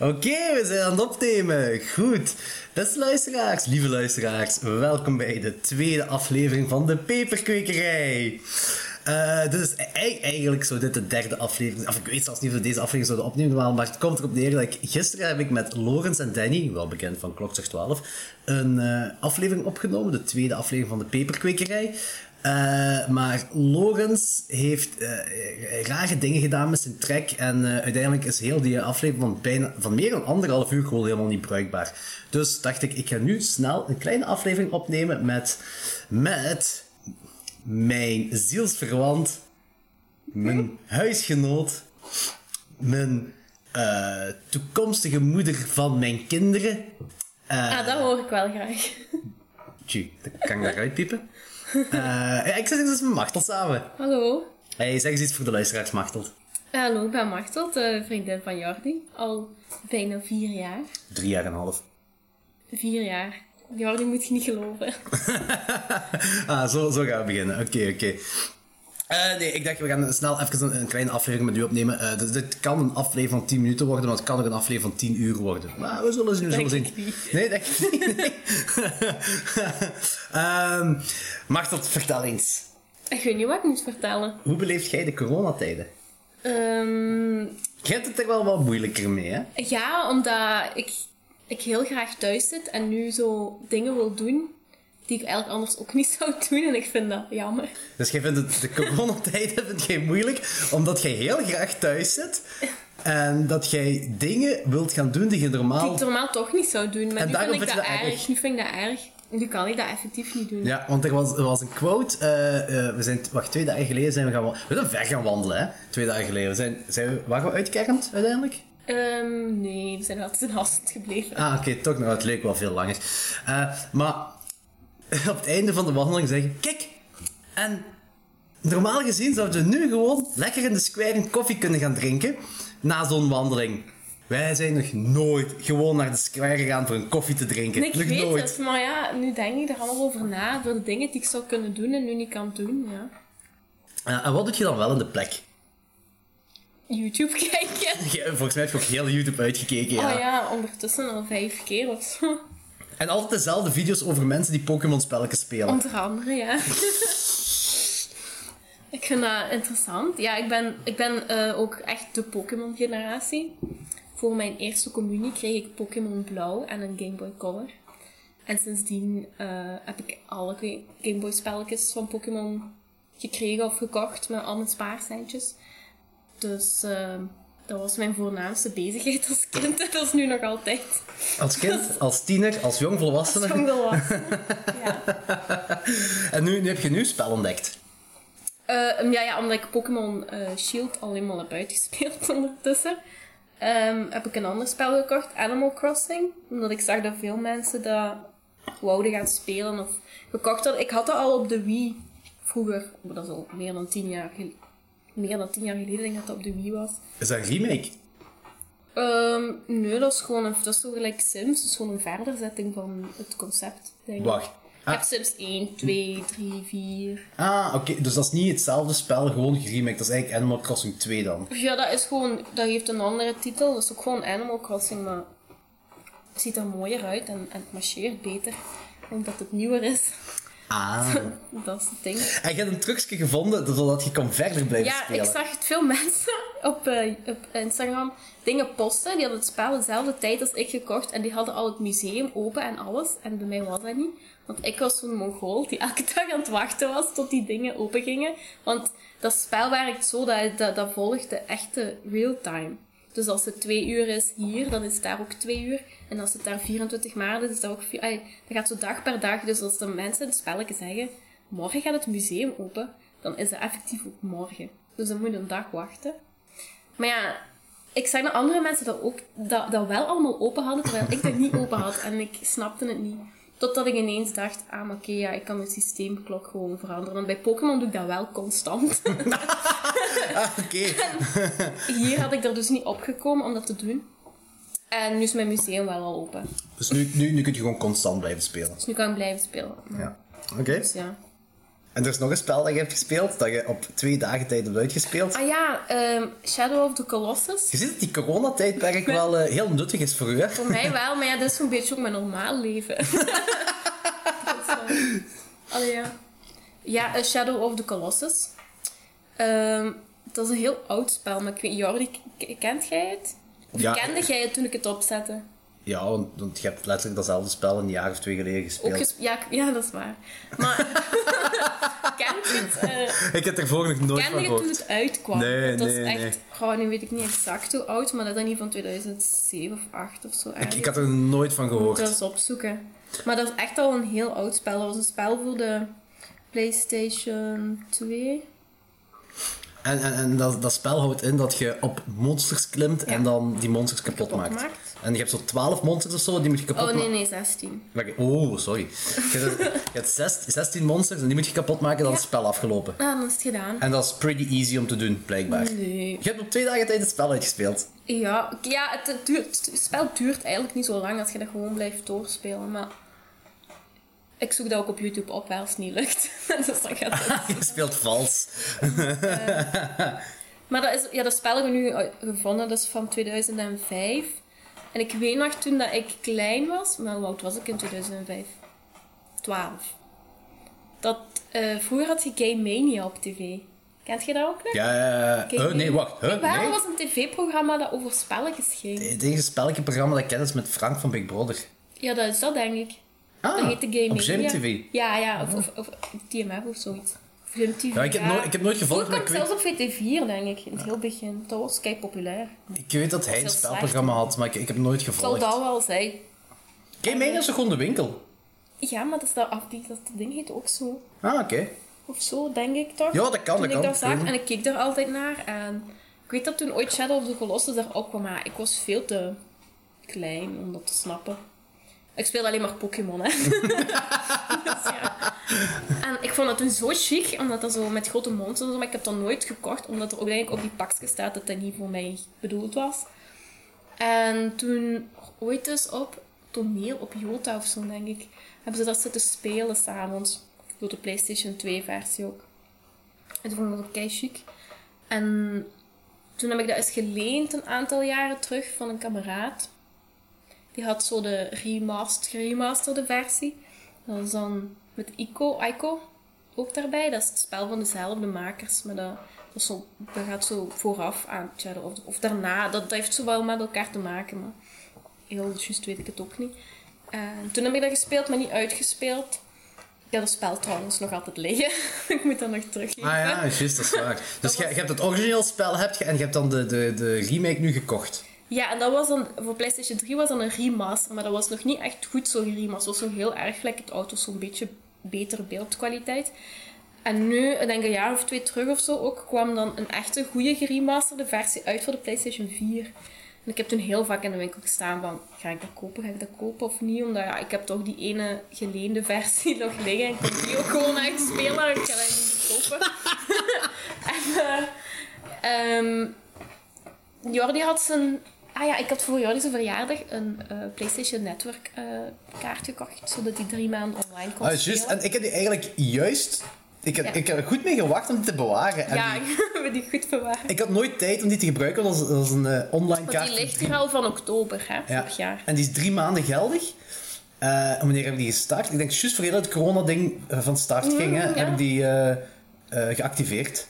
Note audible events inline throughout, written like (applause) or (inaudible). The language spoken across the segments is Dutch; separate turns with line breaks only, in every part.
Oké, we zijn aan het opnemen. Goed. Beste luisteraars, lieve luisteraars, welkom bij de tweede aflevering van de Peperkwekerij. Eh, dit is ei- eigenlijk zo dit de derde aflevering. Of ik weet zelfs niet of we deze aflevering zouden opnemen, maar- maar het komt erop neer. dat ik gisteren heb ik met Lorenz en Danny, wel bekend van Klokzorg 12, een eh, aflevering opgenomen. De tweede aflevering van de Peperkwekerij. Eh, maar Lorenz heeft eh, rare dingen gedaan met zijn track. En eh, uiteindelijk is heel die aflevering van, bijna, van meer dan anderhalf uur gewoon helemaal niet bruikbaar. Dus dacht ik, ik ga nu snel een kleine aflevering opnemen met, met mijn zielsverwant, mijn huisgenoot, mijn eh, toekomstige moeder van mijn kinderen.
Ah, dat hoor ik wel graag.
Tjie, dat kan ik daaruit piepen? Eh, ja, ik zit dus met Martel samen.
Hallo.
Hey, zeg eens iets voor de luisteraars, Martel.
Hallo, ik ben Martel, de vriendin van Jordi. Al bijna vier jaar.
Drie jaar en een half.
Vier jaar. Jordi moet je niet geloven.
Ah, zo, zo gaan we beginnen. Oké, oké. Eh, nee, ik dacht, we gaan snel even een, een kleine aflevering met u opnemen. Eh, dus dit kan een aflevering van 10 minuten worden, maar het kan ook een aflevering van 10 uur worden. Maar we zullen zien, we zullen
Denk
zien.
ik niet.
Nee, denk ik niet. nee. (laughs) Ehm, Martel, vertel eens.
Ik weet niet wat ik moet vertellen.
Hoe beleef jij de coronatijden?
Ehm,
Jij hebt het er wel wat moeilijker mee, hè?
ja, omdat ik, ik heel graag thuis zit en nu zo dingen wil doen die ik eigenlijk anders ook niet (laughs) zou doen. En ik vind dat jammer.
Dus jij vindt het, de coronatijden (laughs) vind jij moeilijk, omdat jij heel graag thuis zit. En dat jij dingen wilt gaan doen die je
Die
normaal...
ik normaal toch niet zou doen. Maar
En
nu
daarom
vind ik
vind
dat
je dat
erg.
erg.
Nu vind ik dat erg. Nu kan ik dat effectief niet doen.
Ja, want er was, er was een quote. eh, eh, we zijn, wacht, twee dagen geleden zijn we gaan, wa- we zijn ver gaan wandelen. Hè? Twee dagen geleden. We zijn, zijn we, waren we uitkerend uiteindelijk?
Ehm, nee, we zijn altijd in Hasselt gebleven.
Ah, oké, toch nog. Het leek wel veel langer. Eh, maar (laughs) op het einde van de wandeling zeggen: Kijk, en normaal gezien zouden we nu gewoon lekker in de square een koffie kunnen gaan drinken na zo'n wandeling. Wij zijn nog nooit gewoon naar de square gegaan voor een koffie te drinken.
Nee, ik
nog
weet
nooit.
het, maar ja, nu denk ik er allemaal over na. Voor de dingen die ik zou kunnen doen en nu niet kan doen, ja.
Eh, en wat doe je dan wel in de plek? (laughs)
YouTube (laughs) kijken.
Ja, volgens mij heb je ook heel YouTube uitgekeken.
Oh ja, ondertussen al vijf keer of zo.
En altijd dezelfde video's over mensen die Pokémon-spelletjes spelen.
Onder andere, ja. ik vind dat interessant. Ja, ik ben, ik ben eh, ook echt de Pokémon-generatie. Voor mijn eerste communie kreeg ik Pokémon Blauw en een Game Boy Color. En sindsdien eh, heb ik alle Ga- Game Boy spelletjes van Pokémon gekregen of gekocht met al mijn spaarcentjes. Dus eh, dat was mijn voornaamste bezigheid als kind (laughs) en dat is nu nog altijd.
Als kind, als tiener, als
(laughs) Als
jongvolwassene.
jongvolwassene. ja.
En nu, nu heb je een nieuw spel ontdekt.
Eh, um, ja, ja, omdat ik Pokémon eh, Shield al helemaal heb uitgespeeld (laughs) ondertussen, ehm, heb ik een ander spel gekocht, Animal Crossing. Omdat ik zag dat veel mensen dat wouden gaan spelen of gekocht hadden. Ik had dat al op de Wii vroeger, maar dat is al meer dan tien jaar geleden. Meer dan tien jaar geleden denk ik dat dat op de Wii was.
Is dat een remake?
Ehm, nee, dat is gewoon een, dat is zo gelijk Sims. Dat is gewoon een verderzetting van het concept, denk ik.
Wacht.
Je
Ah.
hebt Sims 1, 2, 3, 4,
Ah, oké. Dus dat is niet hetzelfde spel, gewoon geremaked. Dat is eigenlijk Animal Crossing 2 dan.
Ja, dat is gewoon, dat heeft een andere titel. Dat is ook gewoon Animal Crossing, maar het ziet er mooier uit en, en het marcheert beter. Omdat het nieuwer is. (laughs)
Ah.
Dat is het ding.
En je hebt een trucje gevonden zodat je kan verder blijven
Ja,
spelen.
ik zag het veel (laughs) mensen op, eh, op Instagram dingen posten. Die hadden het spel dezelfde tijd als ik gekocht. En die hadden al het museum open en alles. En bij mij was dat niet. Want ik was zo'n mongool die elke (laughs) dag aan het wachten was tot die dingen open gingen. Want dat spel werkt zo dat, dat, dat volgt de echte real time. Dus als het twee uur is hier, dan is het daar ook twee uur. En als het daar 24 maart is, is dat ook vier... ai, dat gaat zo dag per dag. Dus als de mensen het spelletje zeggen, morgen gaat het museum open, dan is dat effectief ook morgen. Dus dan moet je een dag wachten. Maar ja, ik zag dat andere mensen dat ook dat, dat wel allemaal open hadden, terwijl ik dat niet open had. En ik snapte het niet. Totdat ik ineens dacht, ah, maar oké, ja, ik kan mijn systeemklok gewoon veranderen. Want bij Pokémon doe ik dat wel constant. (laughs)
Ah, (laughs) oké.
Hier had ik er dus niet opgekomen om dat te doen. En nu is mijn museum wel al open.
Dus nu, nu, nu kun je gewoon constant blijven spelen.
Dus nu kan ik blijven spelen.
Ja. Oké.
Dus ja.
En er is nog een spel dat je hebt gespeeld, dat je op twee dagen tijd hebt uitgespeeld.
Ah ja, ehm, Shadow of the Colossus.
Je ziet dat die coronatijdperk wel eh, heel nuttig is voor u, hè?
Voor mij wel, maar ja, dat is zo'n beetje ook mijn
(laughs)
normaal leven. dat is, eh, allee, ja. Ja, eh, Shadow of the Colossus. Ehm, dat is een heel oud spel, maar ik weet Jordi, k- k- kent jij het? Of
Ja.
kende jij het toen ik het opzette?
Ja, want, want je hebt letterlijk datzelfde spel een jaar of twee geleden
Ook
gespeeld.
ges- ja, ik- ja, dat is waar. Maar (laughs) kent je het? eh,
Ik heb ervoor nog nooit
kende
van
je toen
gehoord.
het uitkwam?
Nee,
dat
nee,
is
nee.
echt, oh, nu weet ik niet exact hoe oud, maar dat is niet van 2007 of 8 of zo.
Ik,
ergens.
ik had er nooit van
Ik moet dat
gehoord.
eens opzoeken. Maar dat is echt al een heel oud spel. Dat was een spel voor de PlayStation Oh, 2.
En, en, en dat, dat spel houdt in dat je op monsters klimt en dan die monsters kapot,
Kapot
maakt.
maakt.
En je hebt zo twaalf monsters of zo, die moet je kapot
Oh nee,
maken.
nee, 16.
Oh, sorry. Je hebt, je hebt zes- 16 monsters en die moet je kapot maken, dan is het spel afgelopen.
Ah, dan is het gedaan.
En dat is pretty easy om te doen, blijkbaar.
Nee.
Je hebt op twee dagen tijd het spel uitgespeeld.
Ja, oké, ja het, het duurt, het spel duurt eigenlijk niet zo lang als je dat gewoon blijft doorspelen. Maar ik zoek dat ook op YouTube op, wel als het niet lukt. (laughs) dus dan gaat het.
Je speelt vals.
Maar dat, is, ja, dat spel heb ik nu uit- gevonden, dat is van 2005. En ik weet nog toen dat ik klein was, maar hoe oud was ik in 2005? 12. Dat eh, vroeger had je Game Mania op tv. Kent je dat ook nog?
Ja, ja, ja.
Game
Huh, nee,
Mania.
wacht. Huh,
Jawel,
nee.
dat was een tv-programma dat over spelletjes ging.
Het enige spelletjeprogramma dat ik ken is met Frank van Big Brother.
Ja, dat is dat denk ik.
Ah,
dat heet de Game
op
Mania.
GemTV.
Ja, ja, of, of, of DMF of zoiets. Of GemTV,
Ah, Ja, ik heb, nooit, ik heb nooit gevolgd,
Vroeger
maar
kwam
ik
het zelfs
weet,
op VT4, denk ik, in het heel begin. Dat was kei populair.
ik weet dat hij een
heel slecht.
spelprogramma had, maar ik, ik heb hem nooit
Ik zal
gevolgd.
dat wel zijn.
Game Mania is toch gewoon de winkel?
Ja, maar dat is dat, af, die, dat ding heet ook zo.
Ah, oké.
Of zo, denk ik toch?
Ja, dat kan,
Toen
dat
ik
kan.
dat zag
Mhm.
en ik keek daar altijd naar. En ik weet dat toen ooit Shadow of the Colossus daar opkwam, maar ik was veel te klein om dat te snappen. Ik speelde alleen maar Pokémon,
(laughs)
hè. Dus ja. En ik vond dat toen zo chic, omdat dat zo met grote monsters en zo, maar ik heb dat nooit gekocht, omdat er ook denk ik op die pakjes staat dat dat niet voor mij bedoeld was. En toen ooit dus op toneel op Jota of zo, denk ik, hebben ze dat zitten spelen s'avonds. Door de PlayStation 2 versie ook. En toen vond ik dat ook kei chic. En toen heb ik dat eens geleend een aantal jaren terug van een kameraad. Die had zo de remast, geremasterde versie. Dat was dan met Ico, Ico ook daarbij. Dat is het spel van dezelfde makers. Maar dat, dat, is zo, dat gaat zo vooraf aan Shadow of, of daarna. Dat, dat heeft zo wel met elkaar te maken. Maar heel juist weet ik het ook niet. En toen heb ik dat gespeeld, maar niet uitgespeeld. Ik heb dat spel trouwens nog altijd liggen. (laughs) ik moet dat nog teruggeven.
Ah ja, juist, dat is
(laughs)
waar. Dus je, je hebt het origineel spel hebt je, en je hebt dan de, de, de remake nu gekocht.
Ja, en dat was dan, voor PlayStation 3 was dan een remaster, maar dat was nog niet echt goed zo geremasterd. Het was nog heel erg gelijk het auto, zo'n beetje betere beeldkwaliteit. En nu, ik denk een jaar of twee terug of zo ook, kwam dan een echte goede geremasterde versie uit voor de PlayStation 4. En ik heb toen heel vaak in de winkel gestaan van, ga ik dat kopen, ga ik dat kopen of niet? Omdat ja, ik heb toch die ene geleende versie (laughs) nog liggen en ik kon die ook gewoon uitspelen. Ik ga dat niet kopen. en, eh, ehm, Jordi had zijn. Ah ja, ik had voor Jordi zijn verjaardag een eh, PlayStation Network eh, kaart gekocht, zodat hij drie maanden online kon
Ah, juist.
spelen.
En ik heb die eigenlijk juist... Ik heb,
Ja.
ik heb er goed mee gewacht om die te bewaren. En
Ja,
die-
(laughs) we die goed bewaren.
ik had nooit tijd om die te gebruiken, want dat is, dat is een eh, online
Want
kaart.
die ligt hier al van oktober, hè,
Ja.
vorig jaar.
En die is drie maanden geldig. Eh, en wanneer hebben die gestart? Ik denk, juist voordat het corona-ding eh, van start ging, hè,
Mm, ja.
heb ik die eh, eh, geactiveerd.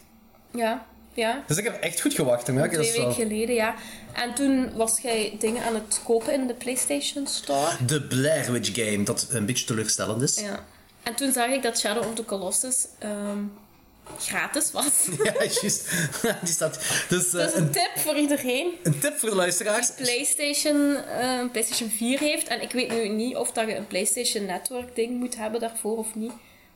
Ja, ja.
Dus ik heb echt goed gewacht. Dan merk je dat
Twee
zo.
weken geleden, ja. En toen was jij dingen aan het kopen in de PlayStation Store.
De Blair Witch Game, dat een beetje teleurstellend is.
Ja. En toen zag ik dat Shadow of the Colossus ehm, gratis was.
(laughs) Ja, juist. die staat... Dus eh,
(laughs) Dat is
een,
een tip voor iedereen.
een tip voor de luisteraars.
PlayStation, eh, een PlayStation 4 heeft. En ik weet nu niet of dat je een PlayStation Network ding moet hebben daarvoor of niet.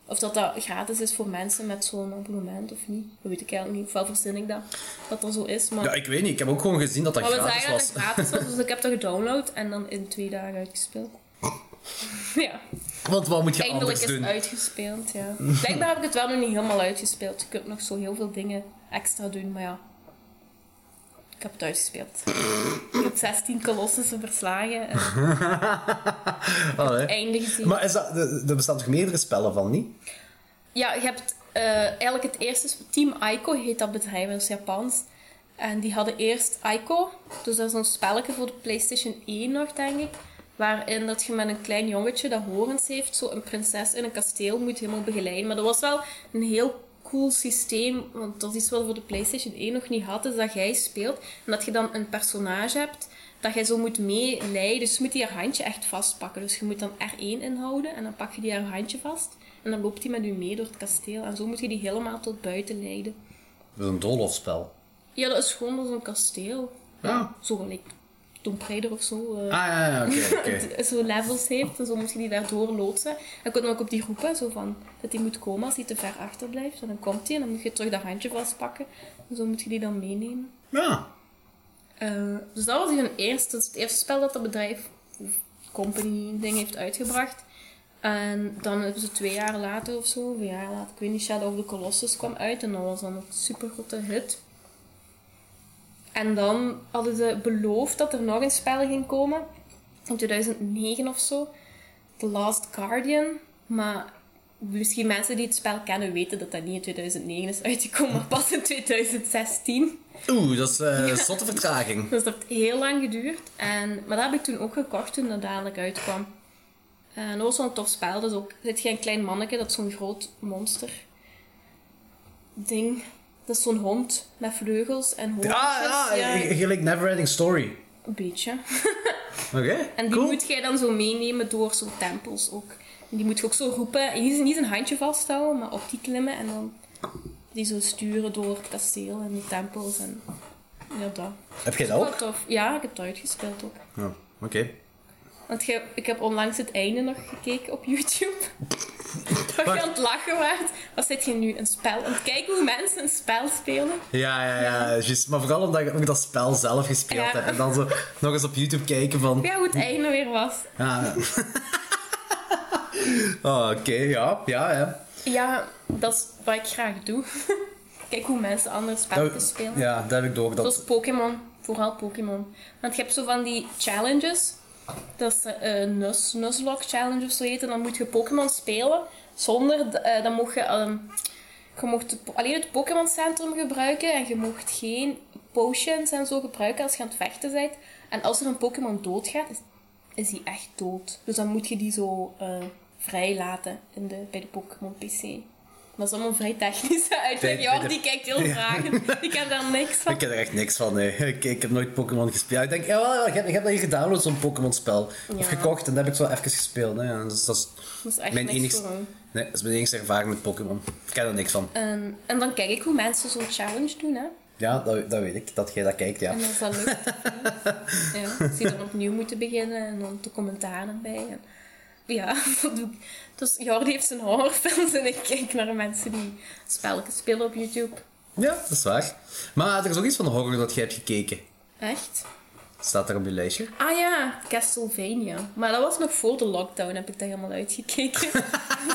Of dat dat gratis is voor mensen met zo'n abonnement of niet. Dat weet ik eigenlijk niet. Ofwel verzin ik dat, dat dat zo is. Maar
Ja, ik weet niet. Ik heb ook gewoon gezien dat dat
maar we
gratis
zeiden dat
was.
het gratis was, dus ik heb dat gedownload en dan in twee dagen uitgespeeld. Ja,
(laughs) Want wat moet je
eindelijk
anders
is het
doen?
uitgespeeld, ja. Blijkbaar heb ik het wel nog niet helemaal uitgespeeld. Je kunt nog zo heel veel dingen extra doen, maar ja. Ik heb het uitgespeeld. Ik heb 16 kolossussen verslagen en het
Allee. Ah,
einde gezien.
Maar is dat, er er bestaan toch meerdere spellen van, niet?
Ja, je hebt eh, eigenlijk het eerste is Team Aiko, heet dat bedrijf, dat is Japans. En die hadden eerst Aiko, dus dat is een spelletje voor de PlayStation 1 nog, denk ik. Waarin dat je met een klein jongetje dat horens heeft, zo een prinses in een kasteel moet helemaal begeleiden. Maar dat was wel een heel cool systeem, want dat is iets wat we voor de PlayStation 1 nog niet hadden, is dat jij speelt. En dat je dan een personage hebt dat jij zo moet meeleiden. Dus je moet die haar handje echt vastpakken. Dus je moet dan R1 inhouden en dan pak je die haar handje vast. En dan loopt die met u mee door het kasteel. En zo moet je die helemaal tot buiten leiden.
Dat is een doolhofspel.
Ja, dat is gewoon als een kasteel.
Ja.
Zo gelijk Tomb Raider of zo. (laughs) eh,
Ah, ja, ja, oké, oké.
Zo levels heeft en zo moet je die daardoor loodsen. En kun je ook op die roepen, zo van dat die moet komen als hij te ver achterblijft. En dan komt hij en dan moet je terug dat handje vastpakken. En zo moet je die dan meenemen.
Ja.
Eh, dus dat was hun eerste, dat is het eerste spel dat dat bedrijf, company ding heeft uitgebracht. En dan hebben ze twee jaar later of zo, of een jaar later, ik weet niet, Shadow of the Colossus kwam uit en dat was dan een super grote hit. En dan hadden ze beloofd dat er nog een spel ging komen, in 2009 of zo, The Last Guardian. Maar misschien mensen die het spel kennen weten dat dat niet in 2009 is uitgekomen, maar pas in 2016.
Oeh, dat is eh zotte vertraging.
Dus dat heeft heel lang geduurd. En, maar dat heb ik toen ook gekocht toen dat dadelijk uitkwam. Eh, En dat was wel een tof spel. Dus ook, zit geen klein manneke, dat is zo'n groot monster ding. Dat is zo'n hond met vleugels en hoofdjes.
Ah, ja, eh, gelijk Neverending Story.
een beetje. (laughs)
Oké,
En die
cool.
moet jij dan zo meenemen door zo'n tempels ook. En die moet je ook zo roepen. En Niet, niet zijn handje vasthouden, maar op die klimmen. En dan die zo sturen door het kasteel en die tempels. En ja, dat.
Heb jij dat ook?
Wel tof. Ja, ik heb het uitgespeeld ook.
Ja, oké.
Want je- ik heb onlangs het einde nog gekeken op YouTube. Waar je
Wacht.
aan het lachen waard. Wat zit je nu? Een spel. Aan het kijken hoe mensen een spel spelen.
Ja, ja, ja. juist. Maar vooral omdat ik ook dat spel zelf gespeeld
Ja.
heb. En dan zo nog eens op YouTube kijken van...
Ja, hoe het einde weer was.
Ja. (laughs) Oh, Oké, ja, ja, ja.
Ja, dat is wat ik graag doe. (laughs) Kijk hoe mensen andere spelletjes
Nou,
spelen.
Oh, Ja, dat heb ik door. Dat...
Zoals Pokémon. Vooral Pokémon. Want je hebt zo van die challenges. Dat is eh, een nus, Nuzlocke challenge of zo heet. En dan moet je Pokémon spelen. Zonder, de- eh, dan mocht je, ehm, je mocht de po- alleen het Pokémon Centrum gebruiken. En je mocht geen potions en zo gebruiken als je aan het vechten bent. En als er een Pokémon doodgaat, is, is die echt dood. Dus dan moet je die zo eh, vrij laten in de, bij de Pokémon PC. Dat is allemaal vrij (laughs) technische uitleg.
Bij- bij
Ja,
de-
die kijkt heel vragen. Die kan daar niks van.
Ik heb er echt niks van, nee. (laughs) Ik, ik heb nooit Pokémon gespeeld. Ik denk, ja, wel, ik, heb, ik heb dat hier gedownload, zo'n Pokémon-spel. Of
Ja.
gekocht, en dat heb ik zo even gespeeld. Hè. Dus dat is,
Dat is echt
mijn
niks
enigste...
voor mij.
Nee, dat is mijn enigste ervaring met Pokémon. Ik ken er niks van.
En, Ehm, en dan kijk ik hoe mensen zo'n challenge doen, hè.
Ja, dat, dat weet ik, dat jij dat kijkt, ja.
En als dat lukt,
(laughs)
hè. ja, zie dan opnieuw moeten beginnen en dan de commentaren bij. En, ja, (laughs) dat doe ik. Dus Jordi heeft zijn horrorfilms en ik kijk naar mensen die spelletjes spelen op YouTube.
Ja, dat is waar. Maar er is ook iets van horror dat jij hebt gekeken.
Echt?
Staat er op je lijstje?
Ah ja, Castlevania. Maar dat was nog voor de lockdown, heb ik dat helemaal
(laughs)
uitgekeken. ik,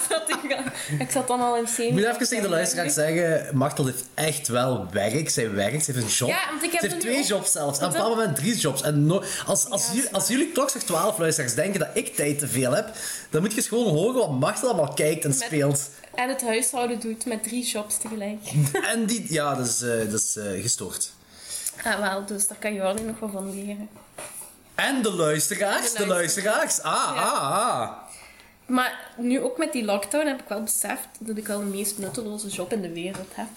zat ik, al- ik zat dan al in
Ik
serie.
moet even tegen de luisteraar zeggen, Martel heeft echt wel werk. Zij werkt, ze heeft een job.
Ja, want ik heb
ze heeft
er nu
twee
ook-
jobs zelfs. En op een
Dat-
bepaald moment drie jobs. En no- als, als,
Ja,
jullie, als jullie klok zegt 12 luisteraars denken dat ik tijd te veel heb, dan moet je eens gewoon horen wat Martel allemaal kijkt en speelt.
En het huishouden doet met drie jobs tegelijk.
(laughs) En die, ja, dat is, eh, dat is eh, gestoord.
Ah wel, dus daar kan Jordi nog wel van leren.
En de luisteraars,
De
de luisteraars. Ah,
Ja.
ah, ah.
Maar nu ook met die lockdown heb ik wel beseft dat ik wel de meest nutteloze job in de wereld heb.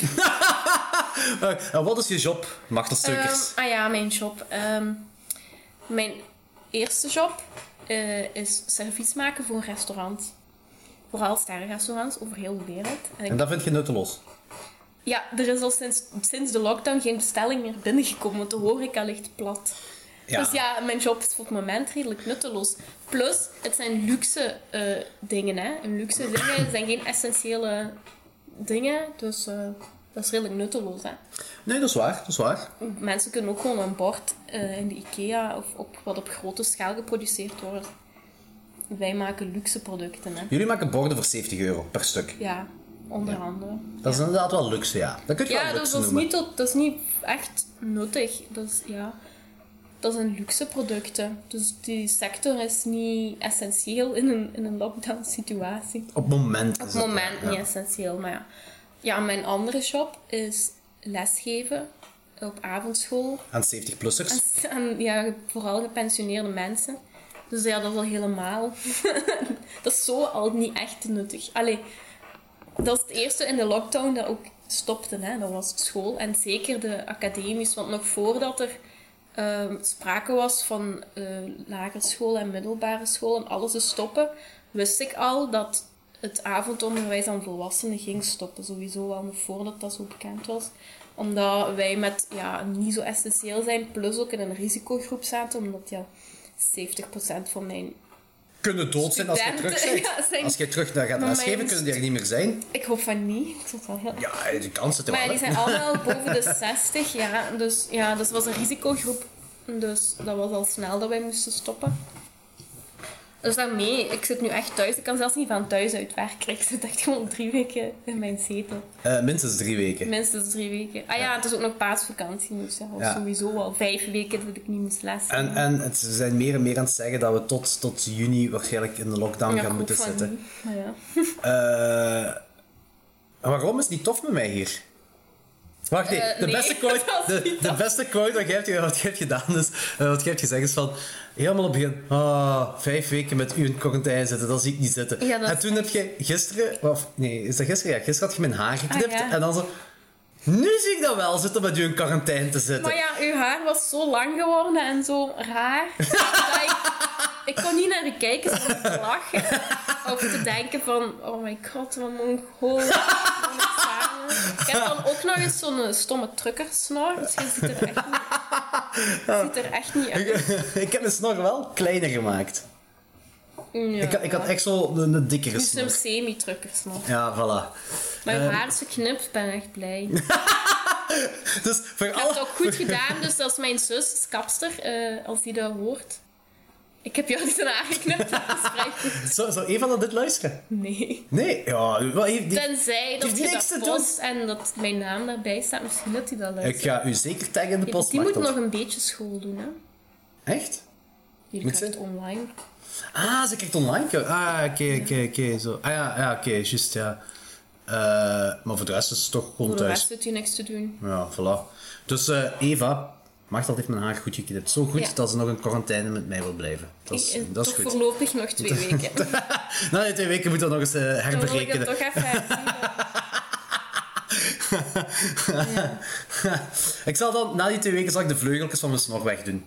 Eh, en wat is je job, Martel Stukkers?
Ehm, ah ja, mijn job. Ehm, mijn eerste job eh, is servies maken voor een restaurant. Vooral sterrenrestaurants over heel de wereld. En ik-
en dat vind je nutteloos?
ja, er is al sinds, sinds de lockdown geen bestelling meer binnengekomen, want de horeca ligt plat.
Ja.
Dus ja, mijn job is voor het moment redelijk nutteloos. Plus, het zijn luxe eh, dingen, hè. En luxe dingen zijn geen essentiële dingen, dus eh, dat is redelijk nutteloos, hè.
Nee, dat is waar, dat is waar.
Mensen kunnen ook gewoon een bord eh, in de IKEA of op, wat op grote schaal geproduceerd wordt. Wij maken luxe producten, hè.
Jullie maken borden voor 70 euro per stuk.
Ja, onder andere.
Dat is inderdaad wel luxe, ja. Dat kun je
Ja,
wel
dus
luxe
dat is,
noemen.
niet, tot- dat is niet echt nuttig. Dat, is, ja, dat zijn luxe producten. Dus die sector is niet essentieel in een, in een lockdown situatie.
Op het moment.
Op
is
het moment
ja.
niet essentieel, maar ja. Ja, mijn andere job is lesgeven op avondschool
Aan 70-plussers.
(laughs) aan, aan, ja, vooral gepensioneerde mensen. Dus ja, dat is al helemaal... (laughs) dat is zo al niet echt nuttig. Allee, dat is het eerste in de lockdown dat ook stopte. Hè? Dat was school en zeker de academisch. Want nog voordat er ehm, sprake was van eh lagere school en middelbare school en alles te stoppen, wist ik al dat het avondonderwijs aan volwassenen ging stoppen. Sowieso al nog voordat dat zo bekend was. Omdat wij met ja, niet zo essentieel zijn, plus ook in een risicogroep zaten, omdat ja, 70% van mijn
Kunnen dood zijn als je terug
Studenten,
bent.
(laughs) ja, zijn-
Als je terug naar gaat
Maar
lesgeven,
mijn-
kunnen die er niet meer zijn.
ik hoop van niet. Ik vond het wel heel...
Ja, de kans zit er
Maar
wel.
die
hè.
zijn
(laughs)
allemaal boven de 60, ja. Dus ja, dat was een risicogroep. Dus dat was al snel dat wij moesten stoppen. Dus daarmee, ik zit nu echt thuis. Ik kan zelfs niet van thuis uit werken. Ik zit echt gewoon drie weken in mijn zetel.
Eh, minstens drie weken.
Minstens drie weken. Ah ja, het is ook nog paasvakantie. Dus ja, dat was
Ja.
sowieso al vijf weken dat ik niet moest lessen.
En, en het- ze zijn meer en meer aan het zeggen dat we tot, tot juni waarschijnlijk in de lockdown
Ja, ik
gaan
hoop
moeten
van
zitten.
niet. Maar ja.
Eh, en waarom is het niet tof met mij hier? Wacht, nee,
Eh,
de,
nee, (laughs)
beste quote,
dat is
de,
niet
de
tof.
beste quote wat jij hebt, wat jij hebt gedaan is, eh, wat jij hebt gezegd is van, helemaal op het begin, ah, vijf weken met u in quarantaine zitten, dat zie ik niet zitten.
Ja, dat
en
is
toen heb je gisteren, of nee, is dat gisteren? Ja, gisteren had je mijn haar geknipt
Ah, ja.
en dan zo, nu zie ik dat wel zitten met u in quarantaine te zitten. (laughs)
Maar ja, uw haar was zo lang geworden en zo raar. dat ik, ik kon niet naar u kijken zonder te lachen. Of te denken van, oh my god, wat mongool. wat moet ik samen? Ik heb dan ook nog eens zo'n eh, stomme truckersnor. Dus je ziet er echt niet, je ziet er echt niet uit.
ik heb mijn snor wel kleiner gemaakt.
Ja.
Ik, had- ik had echt zo een, een dikkere
Dus een
snor.
semi-truckersnor.
Ja, voilà.
Maar
Eh,
uw haar is geknipt, ik ben echt
(laughs)
blij.
Dus voor
Ik heb
alle...
het ook goed gedaan, dus dat is mijn zus, is kapster, eh, als die dat hoort. Ik heb jou niet een haar geknipt, dat is vrij goed.
Zou, zou Eva naar dit luisteren?
Nee.
Nee, ja, wat heeft die...
(laughs) Tenzij
heeft
dat je
niks
dat
te doen.
post en dat mijn naam daarbij staat, misschien dat hij dat
Ik
luistert.
ga u zeker taggen in de
Ja, want die moet
postmarkt.
nog een beetje school doen, hè?
Echt?
Jullie
Moet
krijgt het online.
Ah, ze kijkt online. ke- Ah, oké, oké, oké. zo. Ah ja, ja oké, juist, ja. Eh, maar voor de rest is het toch gewoon
Voor de
thuis.
rest doet hij niks te doen.
Ja, voilà. Dus eh, Eva, Machtel heeft mijn haar goed geknipt. Zo goed
Ja.
dat ze nog in quarantaine met mij wil blijven. Dat is,
Ik- eh,
dat is
toch
goed.
voorlopig nog twee weken. Dan
(laughs) Na die twee weken moeten we nog eens eh,
wil ik het
herberekenen.
toch even herzien.
(laughs) ik zal dan, na die twee weken, zal ik de vleugeltjes van mijn snor
(laughs)
wegdoen.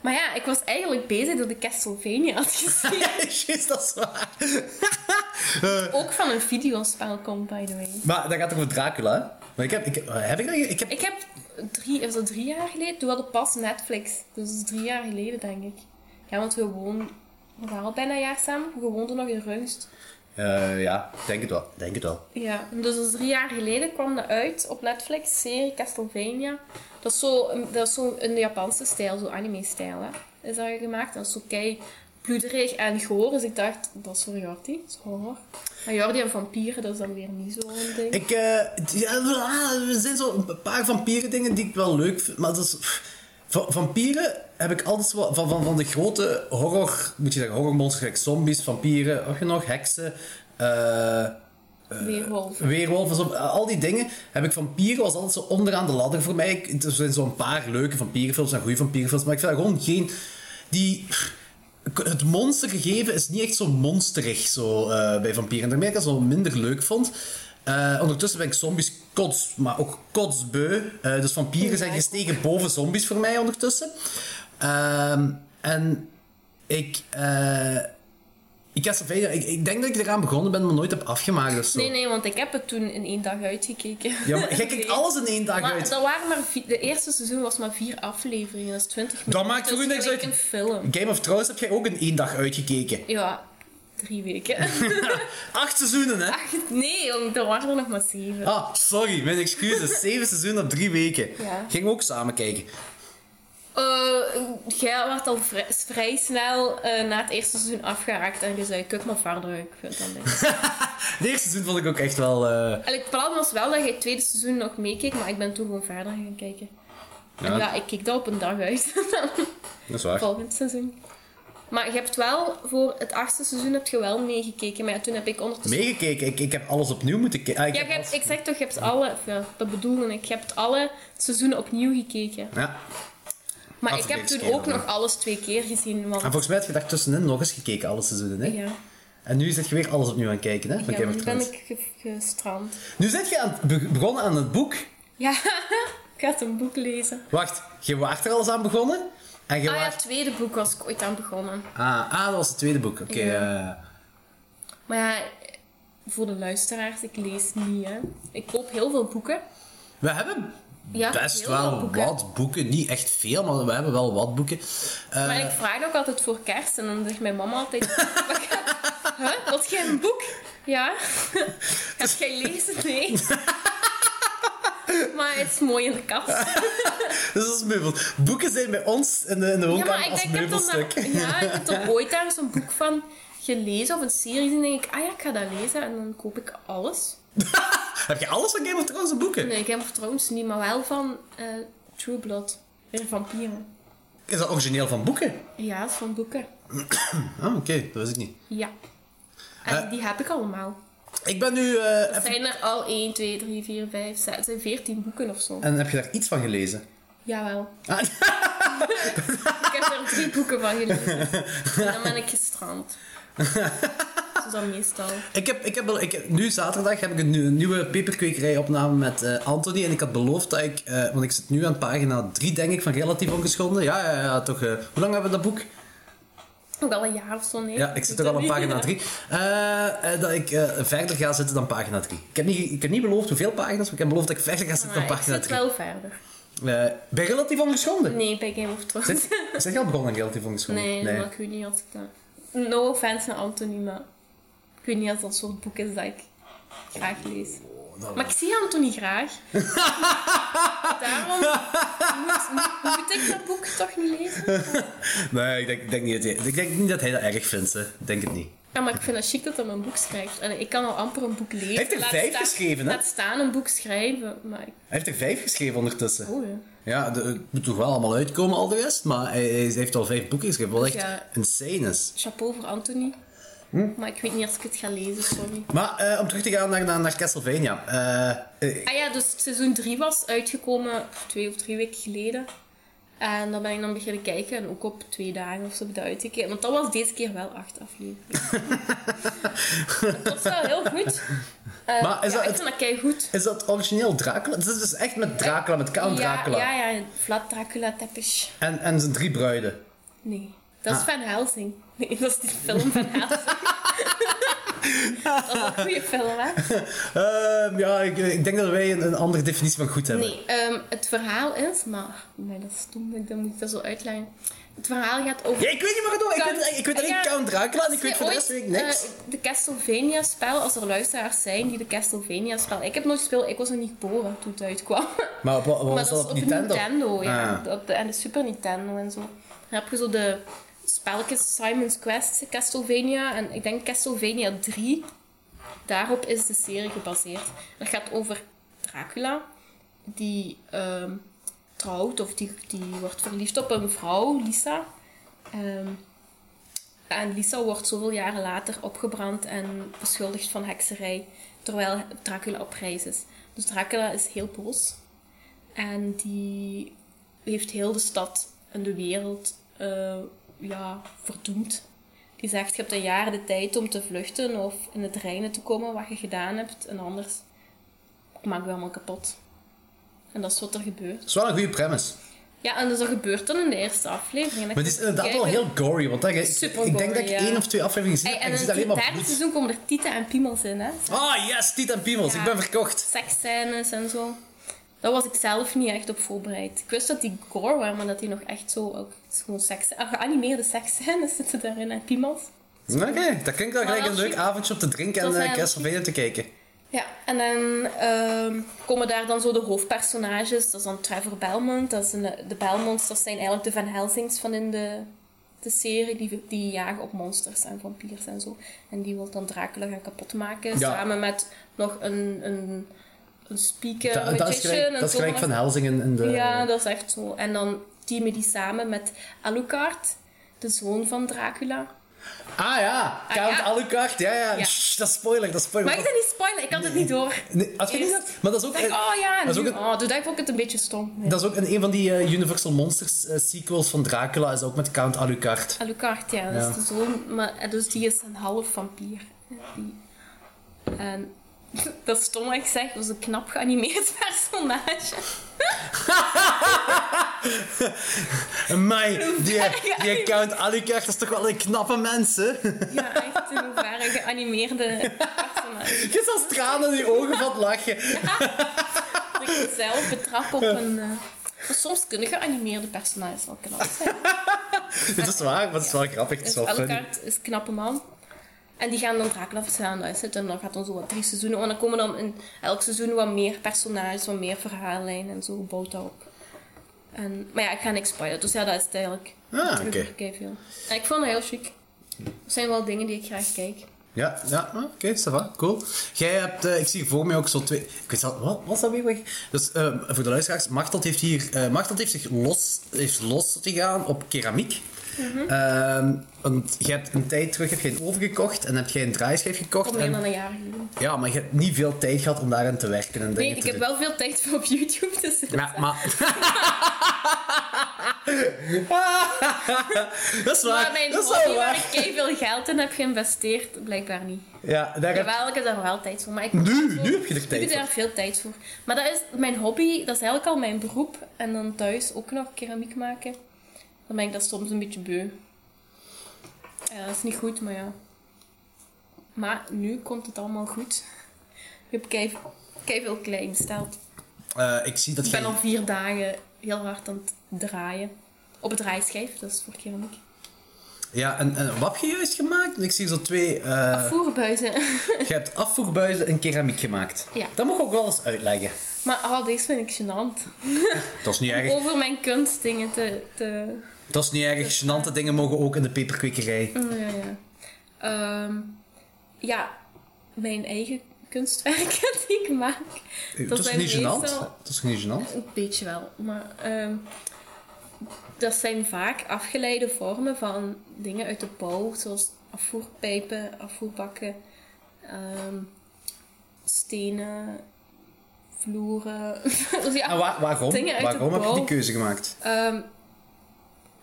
Maar ja, ik was eigenlijk bezig dat ik Castlevania had
(laughs)
gezien.
Juist, dat is waar. (laughs) Eh,
Ook van een videospel komt, by the way.
Maar dat gaat toch over Dracula, hè? Maar ik heb... Ik, eh, heb ik, dat ge- ik heb
Ik heb drie, is dat drie jaar geleden? Toen hadden we pas Netflix. Dus dat is drie jaar geleden, denk ik. Ja, want we woonden, we waren al bijna een jaar samen. We woonden nog in Rungst.
Eh, ja, denk het wel. Denk het wel.
Ja, dus dat is drie jaar geleden kwam dat uit op Netflix, serie Castlevania. Dat is zo, dat is zo in de Japanse stijl, zo anime-stijl, hè. Is dat gemaakt? Dat is zo kei bloederig en goor. Dus ik dacht, dat is voor Jordi, dat is horror. Maar Jordi en vampieren, dat is dan weer niet zo'n ding.
Ik, eh, t- ja, ah, er zijn zo een paar vampieren dingen die ik wel leuk vind, maar dat is... pff, va- Vampieren heb ik altijd wel- van, van, van de grote horror, moet je zeggen, horrormonsters, gelijk zombies, vampieren, wat je nog, heksen, eh,
Weerwolf.
weerwolven, zo, eh, al die dingen. Heb ik vampieren was altijd zo onderaan de ladder voor mij. Ik- Er zijn zo'n paar leuke vampierenfilms en goede vampierenfilms, maar ik vind dat gewoon geen... Die... Het monstergegeven is niet echt zo monsterig zo, eh, bij vampieren. En daarmee dat ik dat zo minder leuk vond. Eh, ondertussen ben ik zombies kots, maar ook kotsbeu. Eh, dus vampieren zijn
Ja, ik
gestegen boven zombies voor mij ondertussen. Ehm, en ik... eh ik, Castlevania, ik, ik denk dat ik eraan begonnen ben, maar nooit heb afgemaakt. of zo.
Nee, nee, want ik heb het toen in één dag uitgekeken.
Ja, maar jij
(laughs)
kijkt
Nee.
alles in één dag
Maar
uit.
dat waren maar vier- de eerste seizoen was maar vier afleveringen, dat is 20 minuten.
maakt voor u
Dus
niks
gelijk
uit.
een film.
Game of Thrones heb jij ook in één dag
(laughs)
uitgekeken.
Ja, drie weken. (laughs)
Acht seizoenen, hè?
Ach, nee, jong, er waren er nog maar zeven.
Ah, sorry, mijn
(laughs)
excuses. Zeven seizoenen op drie weken.
Ja.
Ging ook samen kijken. (laughs)
Eh, jij werd al vrij, vrij snel eh, na het eerste seizoen afgeraakt en je zei, kijk maar verder, ik vind dat
(laughs)
niks.
Het eerste seizoen vond ik ook echt wel... eh,
En het plan was wel dat je het tweede seizoen nog meekeek, maar ik ben toen gewoon verder gaan kijken. En
Ja.
ja, ik keek dat op een dag uit, (laughs)
Dat is waar.
volgend seizoen. Maar je hebt wel voor het achtste seizoen heb je wel meegekeken. Maar ja, toen heb ik ondertussen...
Meegekeken, ik, ik heb alles opnieuw moeten kijken. Ah, ik
ja,
heb
je hebt-
alles-
ik zeg toch, je hebt alle... of ja, dat bedoelde ik. Je hebt alle seizoenen opnieuw gekeken.
ja.
Maar
Had
ik
ik
heb
eens
toen
keer Ah,
ook
gedaan.
nog alles twee keer gezien. Want,
En volgens mij heb je daar tussenin nog eens gekeken, alle seizoenen. Hè?
ja,
En nu zit je weer alles opnieuw aan het kijken, hè? Van
ja
Game of
dan ben
Thrones.
ik ge- gestrand.
Nu zit je aan het be- begonnen aan het boek.
Ja, (laughs) ik ga het een boek lezen.
Wacht, je waart er alles aan begonnen? En je
Ah ja,
waart...
het tweede boek was ik ooit aan begonnen.
ah, ah, dat was het tweede boek. Oké. eh.
Maar ja, voor de luisteraars, ik lees niet. Hè. Ik koop heel veel boeken.
We hebben
Ja,
best
heel
wel
veel boeken.
wat boeken. Niet echt veel, maar we hebben wel wat boeken. Eh,
Maar ik vraag ook altijd voor kerst. En dan zegt mijn mama altijd...
(laughs)
Huh? Wat jij een boek? Ja. (laughs) Heb jij lezen? Nee.
(laughs)
Maar het is mooi in de kast.
dus dat is meubels. Boeken zijn bij ons in de, in de
Ja,
woonkamer
maar ik,
als
ik heb dan
meubelstuk.
daar- ja, ik
(laughs)
heb er ooit daar zo'n boek van gelezen of een serie en denk ik, ah ja, ik ga dat lezen en dan koop ik alles.
(laughs) Heb je alles van Game of Thrones in boeken?
Nee, ik heb trouwens niet, maar wel van eh, True Blood, weer vampieren.
Is dat origineel van boeken?
Ja, dat is van boeken.
Ah, oké. Dat wist ik niet.
Ja. En die heb ik allemaal.
Ik ben nu... eh,
Er
even-
zijn er al 1, 2, 3, 4, 5, 6, het zijn 14 boeken of zo.
En heb je daar iets van gelezen?
Jawel.
Eh. (laughs) Ah,
Ik heb er drie boeken van gelezen. En dan ben ik gestrand. Zo is dat meestal.
Ik heb, ik heb, wel- ik heb- nu zaterdag heb ik een, nieuw- nieuwe peperkwekerijopname met eh, Anthony. En ik had beloofd dat ik, eh, want ik zit nu aan pagina 3 denk ik van Relatief Ongeschonden. Ja, ja, ja, toch. eh, hoe lang hebben we dat boek?
Ook al een jaar of zo, nee.
Ja, ik zit
Doe
toch al aan
dat niet.
pagina 3. dat ik eh, verder ga zitten dan pagina 3. Ik heb, niet, ik heb niet beloofd hoeveel pagina's, maar ik heb beloofd dat ik verder ga zitten
Maar
dan pagina
ik zit
3.
wel verder.
Eh, bij Relatief Ongeschonden?
Nee, bij Game of Thrones.
Zit, zit je al begonnen aan Relatief Ongeschonden?
Nee, dat ik weet niet als ik dat... No offense naar Anthony, maar... Ik weet niet als dat soort boek is dat ik graag lees.
dat-
Maar ik zie Anthony
(laughs)
graag. Daarom moet, moet- moet ik dat boek toch niet lezen.
Nee, ik denk, ik denk niet dat hij, ik denk niet dat hij dat erg vindt. hè. Ik denk het niet.
Ja, maar ik vind het chic dat hij een boek schrijft. En ik kan al amper een boek lezen.
Hij heeft er
Laat
vijf
staan-
geschreven, hè?
Laat staan een boek schrijven, maar ik...
Hij heeft er vijf geschreven ondertussen.
Oh, ja.
Ja, de- het moet toch wel allemaal uitkomen al de rest, maar hij, hij heeft al vijf boeken geschreven, wat echt
Ja.
insane is.
Chapeau voor Anthony.
Hm?
Maar ik weet niet als ik het ga lezen, sorry.
Maar eh, om terug te gaan naar, naar, naar Castlevania. eh, eh,
Ah ja, dus seizoen 3 was uitgekomen twee of drie weken geleden. En dan ben ik dan beginnen kijken en ook op twee dagen of zo heb ik dat uitgekeken. Want dat was deze keer wel acht afleveringen.
(laughs)
dat was wel heel goed. Eh,
Maar Ah, is
ja,
dat
ik
het-
vond dat kei goed.
is dat origineel Dracula? Het is dus echt met Dracula, met Count Dracula.
Ja, ja, ja, Vlad Dracula tepish.
En, en zijn drie bruiden. (laughs)
Nee, dat is
Ah.
Van Helsing. Nee, dat is die
(laughs)
film Van Helsing. dat is een goede film, hè?
Ehm, ja, ik, ik denk dat wij een, een andere definitie van goed hebben.
Nee, ehm, het verhaal is, maar, maar dat is stom, dat ik dat moet ik dat zo uitleggen. Het verhaal gaat over.
Ja, ik weet niet waar het over Ik
Count-
weet, ik weet alleen
Ja,
Count Dracula en ik
Als
weet
je
voor de
ooit,
rest weet ik niks.
eh, de Castlevania-spel, als er luisteraars zijn die de Castlevania-spel... Ik heb nooit gespeeld, ik was nog niet geboren toen het uitkwam.
(laughs) maar wat, wat
maar
was
dat
dat
is
op
op
Nintendo?
ja.
Ah.
Op de, en de Super Nintendo en zo. Dan heb je zo de spelletjes Simon's Quest, Castlevania. En ik denk Castlevania 3. Daarop is de serie gebaseerd. Dat gaat over Dracula. Die ehm, trouwt of die, die wordt verliefd op een vrouw, Lisa. Ehm, en Lisa wordt zoveel jaren later opgebrand en beschuldigd van hekserij. Terwijl Dracula op reis is. Dus Dracula is heel boos. En die heeft heel de stad en de wereld eh, ja, verdoemd. Die zegt, je hebt een jaar de tijd om te vluchten of in het reinen te komen wat je gedaan hebt. En anders maak je allemaal kapot. En dat is wat er gebeurt.
Dat is wel een goede premise.
Ja, en dus dat gebeurt dan in de eerste aflevering.
Maar het is inderdaad wel heel gory, want daar, ik,
Super
ik denk
gory,
dat ik
ja.
één of twee afleveringen gezien
Ey,
heb
en
en er zit
in
alleen
het
maar
derde
bloed.
seizoen komen er tieten en piemels in, hè.
Ah, yes, Tiet en Piemels,
Ja.
ik ben verkocht.
seksscènes en zo. Daar was ik zelf niet echt op voorbereid. Ik wist dat die gore waren, maar dat die nog echt zo ook gewoon seks... ah, Geanimeerde seksscènes zitten daarin en piemels.
Oké, dat klinkt wel gelijk
wel
een leuk
chic.
avondje om te drinken
Dat
en
is
eh
wel
Castlevania te kijken.
Ja, en dan ehm, komen daar dan zo de hoofdpersonages. Dat is dan Trevor Belmont. Dat is een, de Belmonts, dat zijn eigenlijk de Van Helsings van in de, de serie. Die, die jagen op monsters en vampiers en zo. En die wil dan Dracula gaan kapotmaken.
Ja.
Samen met nog een, een, een speaker,
Dat, dat is
magician
gelijk,
en
dat is
zo.
gelijk Van Helsing in, in de...
Ja, dat is echt zo. En dan teamen die samen met Alucard. de zoon van Dracula.
Ah ja,
Ah,
Count
ja.
Alucard. Ja, ja.
Ja.
Shh, dat is spoiler, dat is spoiler.
Mag ik dat niet spoilen? Ik had het niet door.
Nee, had je niet
Eerst
gezegd? Maar dat is ook...
dacht ik, oh ja,
dat is
nu,
ook een-
oh, toen dacht ik ook het een beetje stom. Ja.
Dat is ook in een van die eh, Universal Monsters eh, sequels van Dracula, is ook met Count Alucard.
Alucard, ja, dat
Ja.
is de zoon. Maar, eh, dus die is een half vampier. Die, en (laughs) dat is stom wat ik zeg, was een knap geanimeerd (laughs) personage.
Amai, die, eh,
Ja.
die Count Alucard is toch wel een knappe mens, hè? (laughs)
Ja, echt een hoeverre geanimeerde personage.
Je zal stralen in je ogen van het lachen.
(laughs) Dat ik mezelf betrap op een... eh, maar soms kunnen geanimeerde personages wel knap zijn.
Dit is waar, maar het is wel grappig, het is
Dus
wel funny.
Alucard is een knappe man. En die gaan dan Dracula verslaan luisteren. En dan gaat dan zo wat drie seizoenen. En dan komen dan in elk seizoen wat meer personages, wat meer verhaallijnen en zo gebouwd daarop. En, maar ja, ik ga niks spoilen. Dus ja, dat is het eigenlijk.
Ah,
Terug-
oké.
veel. En ik vond het heel chic. Dat zijn wel dingen die ik graag kijk.
Ja, ja ah, oké, ça va, cool. Jij hebt, eh, ik zie voor mij ook zo twee... Ik weet al, wat was dat weer weg? Dus eh, voor de luisteraars, Martelt heeft hier... eh Martelt heeft zich los, heeft los te gaan op keramiek.
Mhm.
Ehm, want je hebt een tijd terug heb je een oven gekocht en heb jij een draaischijf gekocht.
Kom
en-
meer dan een jaar geleden.
Ja, maar je hebt niet veel tijd gehad om daarin te werken en
Nee,
dingen
ik
te
heb wel veel tijd voor op YouTube te zitten.
Ja, maar... (laughs) dat is waar.
Maar mijn
dat is wel
hobby waar
waar.
ik kei veel geld in heb geïnvesteerd, blijkbaar niet.
Ja, daar heb...
Jawel, ik heb daar wel tijd voor. Maar ik
Nu, nu heb je er
Ik
tijd
heb
voor.
daar veel tijd voor. Maar dat is mijn hobby, dat is eigenlijk al mijn beroep. En dan thuis ook nog keramiek maken. Dan ben ik dat soms een beetje beu. Eh, dat is niet goed, maar ja. Maar nu komt het allemaal goed. Ik heb kei, kei veel klei besteld.
Eh, ik zie dat
Ik ben
jij...
al vier dagen heel hard aan het draaien. Op het draaischijf, dat is voor keramiek.
Ja, en, en wat heb je juist gemaakt? Ik zie zo twee... eh,
Voerbuizen.
je
(laughs)
hebt afvoerbuizen en keramiek gemaakt.
Ja.
Dat mag ik ook wel eens uitleggen.
maar al deze vind ik gênant.
Dat is niet erg.
Over mijn kunstdingen te, te,
Dat is niet erg. Gênante dingen mogen ook in de peperkwekerij.
Oh, ja, ja. Ehm, ja, mijn eigen (laughs) kunstwerken die ik maak.
Eh, Dat is
zijn
niet gênant.
meestal-
Dat is niet gênant.
Een beetje wel, maar ehm, dat zijn vaak afgeleide vormen van dingen uit de bouw, zoals afvoerpijpen, afvoerbakken, ehm, stenen, vloeren. (laughs) dus ja,
En wa- waarom?
Dingen uit de
Waarom heb je die
bouw.
keuze gemaakt?
Ehm,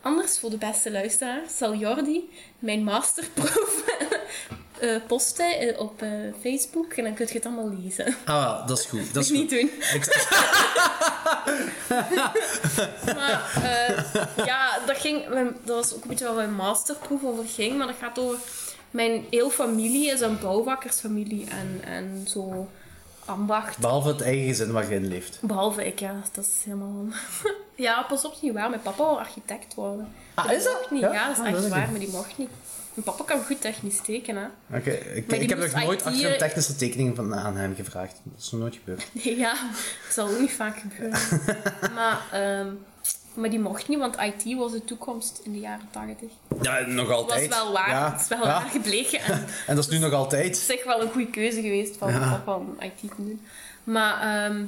anders voor de beste luisteraar zal Jordi mijn masterproef (laughs) eh, posten eh, op eh, Facebook en dan kun je het allemaal lezen. Dat
Ah, wel, dat is goed. Dat is
moet ik (laughs) niet
goed.
doen.
(laughs) Ik-
Maar eh, ja, dat, ging, mijn- dat was ook een beetje waar mijn masterproef over ging, maar dat gaat over... Mijn heel familie is een bouwbakkersfamilie en, en zo ambacht.
Behalve het eigen gezin waar je in leeft.
Behalve ik, ja, dat is helemaal. (laughs) ja, pas op, dat is niet waar. Mijn papa wil architect worden.
Ah, is dat?
mocht Niet.
Ja?
Ja? dat is
Ah,
echt
dat is
waar,
niet.
maar die mocht niet. Mijn papa kan goed technisch tekenen. hè.
Oké, ik,
die
ik heb nog
moest
nooit achter een
IT'er
technische tekening van, aan hem gevraagd. Dat is nog nooit gebeurd.
Nee, (laughs) ja, dat zal ook niet vaak gebeuren.
(laughs)
maar, ehm, maar die mocht niet, want IT was de toekomst in de jaren 80.
Ja, nog
Dat was
altijd.
wel waar.
Ja,
Dat is wel
ja.
waar gebleken. En
En dat is nu nog
is
altijd.
echt wel een goede keuze geweest van
Ja.
papa om IT te doen. Maar, ehm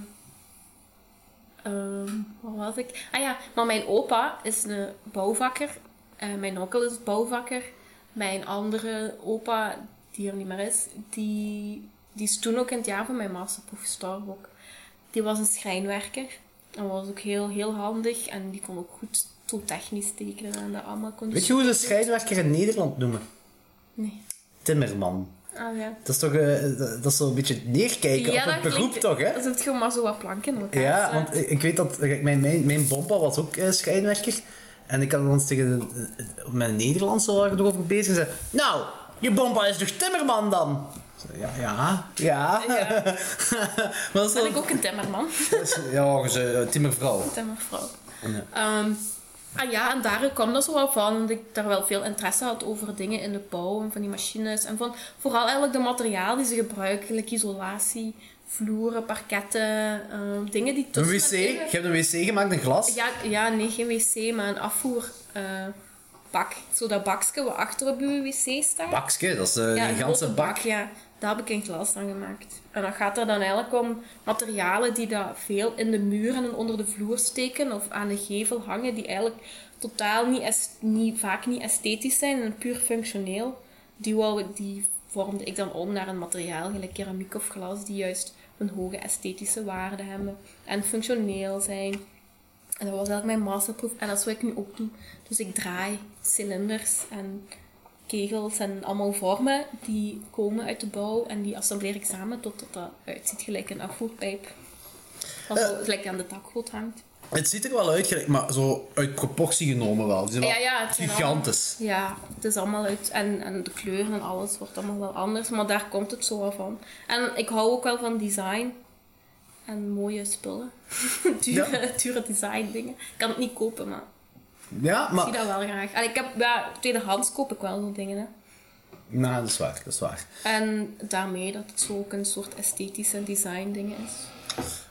ehm, wat was ik? Ah ja, maar mijn opa is een bouwvakker. Eh, mijn onkel is bouwvakker. Mijn andere opa, die er niet meer is, die, die is toen ook in het jaar van mijn masterproef gestorven ook. Die was een schrijnwerker. En was ook heel, heel handig. En die kon ook goed zo technisch tekenen en dat allemaal kon. dus-
Weet je hoe ze scheidwerker in Nederland noemen?
Nee.
Timmerman.
Ah ja.
Dat is toch eh, dat dat is zo'n beetje neerkijken op het
dat
beroep,
klinkt-
toch? Hè?
Dat zit gewoon maar zo wat planken in elkaar.
Ja,
slaan.
want ik, ik weet dat kijk, mijn, mijn, mijn bompa was ook eh, schijnwerker. En ik had dan eens tegen de, eh, mijn Nederlandse waar ik nog over bezig en zei: Nou, je bompa is toch Timmerman dan? Ik zei, Ja, ja, ja.
Ja.
(laughs) maar dat is
Ben
wel-
ik ook een timmerman. (laughs)
dat is- Ja, ze, eh, timmervrouw.
Timmervrouw.
Ja.
Ehm, ah ja, en daar kwam dat zo wel van. Dat ik daar wel veel interesse had over dingen in de bouw. En van die machines. En van vooral eigenlijk de materiaal die ze gebruiken. Like isolatie, vloeren, parketten. ehm, dingen die
Een
tussen...
wc,
en
je
in-
hebt een wc gemaakt, een glas.
Ja, ja, nee, geen wc, maar een afvoerbak. zo dat bakje wat achter op uw wc staat.
Bakske, dat is eh,
Ja,
een ganse
grote
bak.
Ja, Dat heb ik in glas dan gemaakt. En dat gaat er dan eigenlijk om materialen die dat veel in de muren en onder de vloer steken of aan de gevel hangen, die eigenlijk totaal niet, est- niet vaak niet esthetisch zijn en puur functioneel. Die, wou, ik- die vormde ik dan om naar een materiaal, gelijk keramiek of glas, die juist een hoge esthetische waarde hebben en functioneel zijn. En dat was eigenlijk mijn masterproef. En dat is wat ik nu ook doe. Dus ik draai cilinders en kegels en allemaal vormen die komen uit de bouw. En die assembleer ik samen totdat dat uitziet gelijk een afvoerpijp. Dat zo gelijk aan de dakgoot hangt.
Het ziet er wel uit, gelijk, maar zo uit proportie genomen wel. Die zijn wel
Ja, ja, het zijn
gigantisch.
allemaal- ja, het is allemaal uit. En, en de kleuren en alles wordt allemaal wel anders. Maar daar komt het zo wel van. En ik hou ook wel van design. En mooie spullen. (laughs) dure, dure design dingen. Ik kan het niet kopen, maar
Ja, maar
Ik zie dat wel graag. En ik heb, ja, tweedehands koop ik wel zo'n dingen. Hè.
Nou, dat is waar, dat is waar.
En daarmee dat het zo ook een soort esthetisch en design dingen is.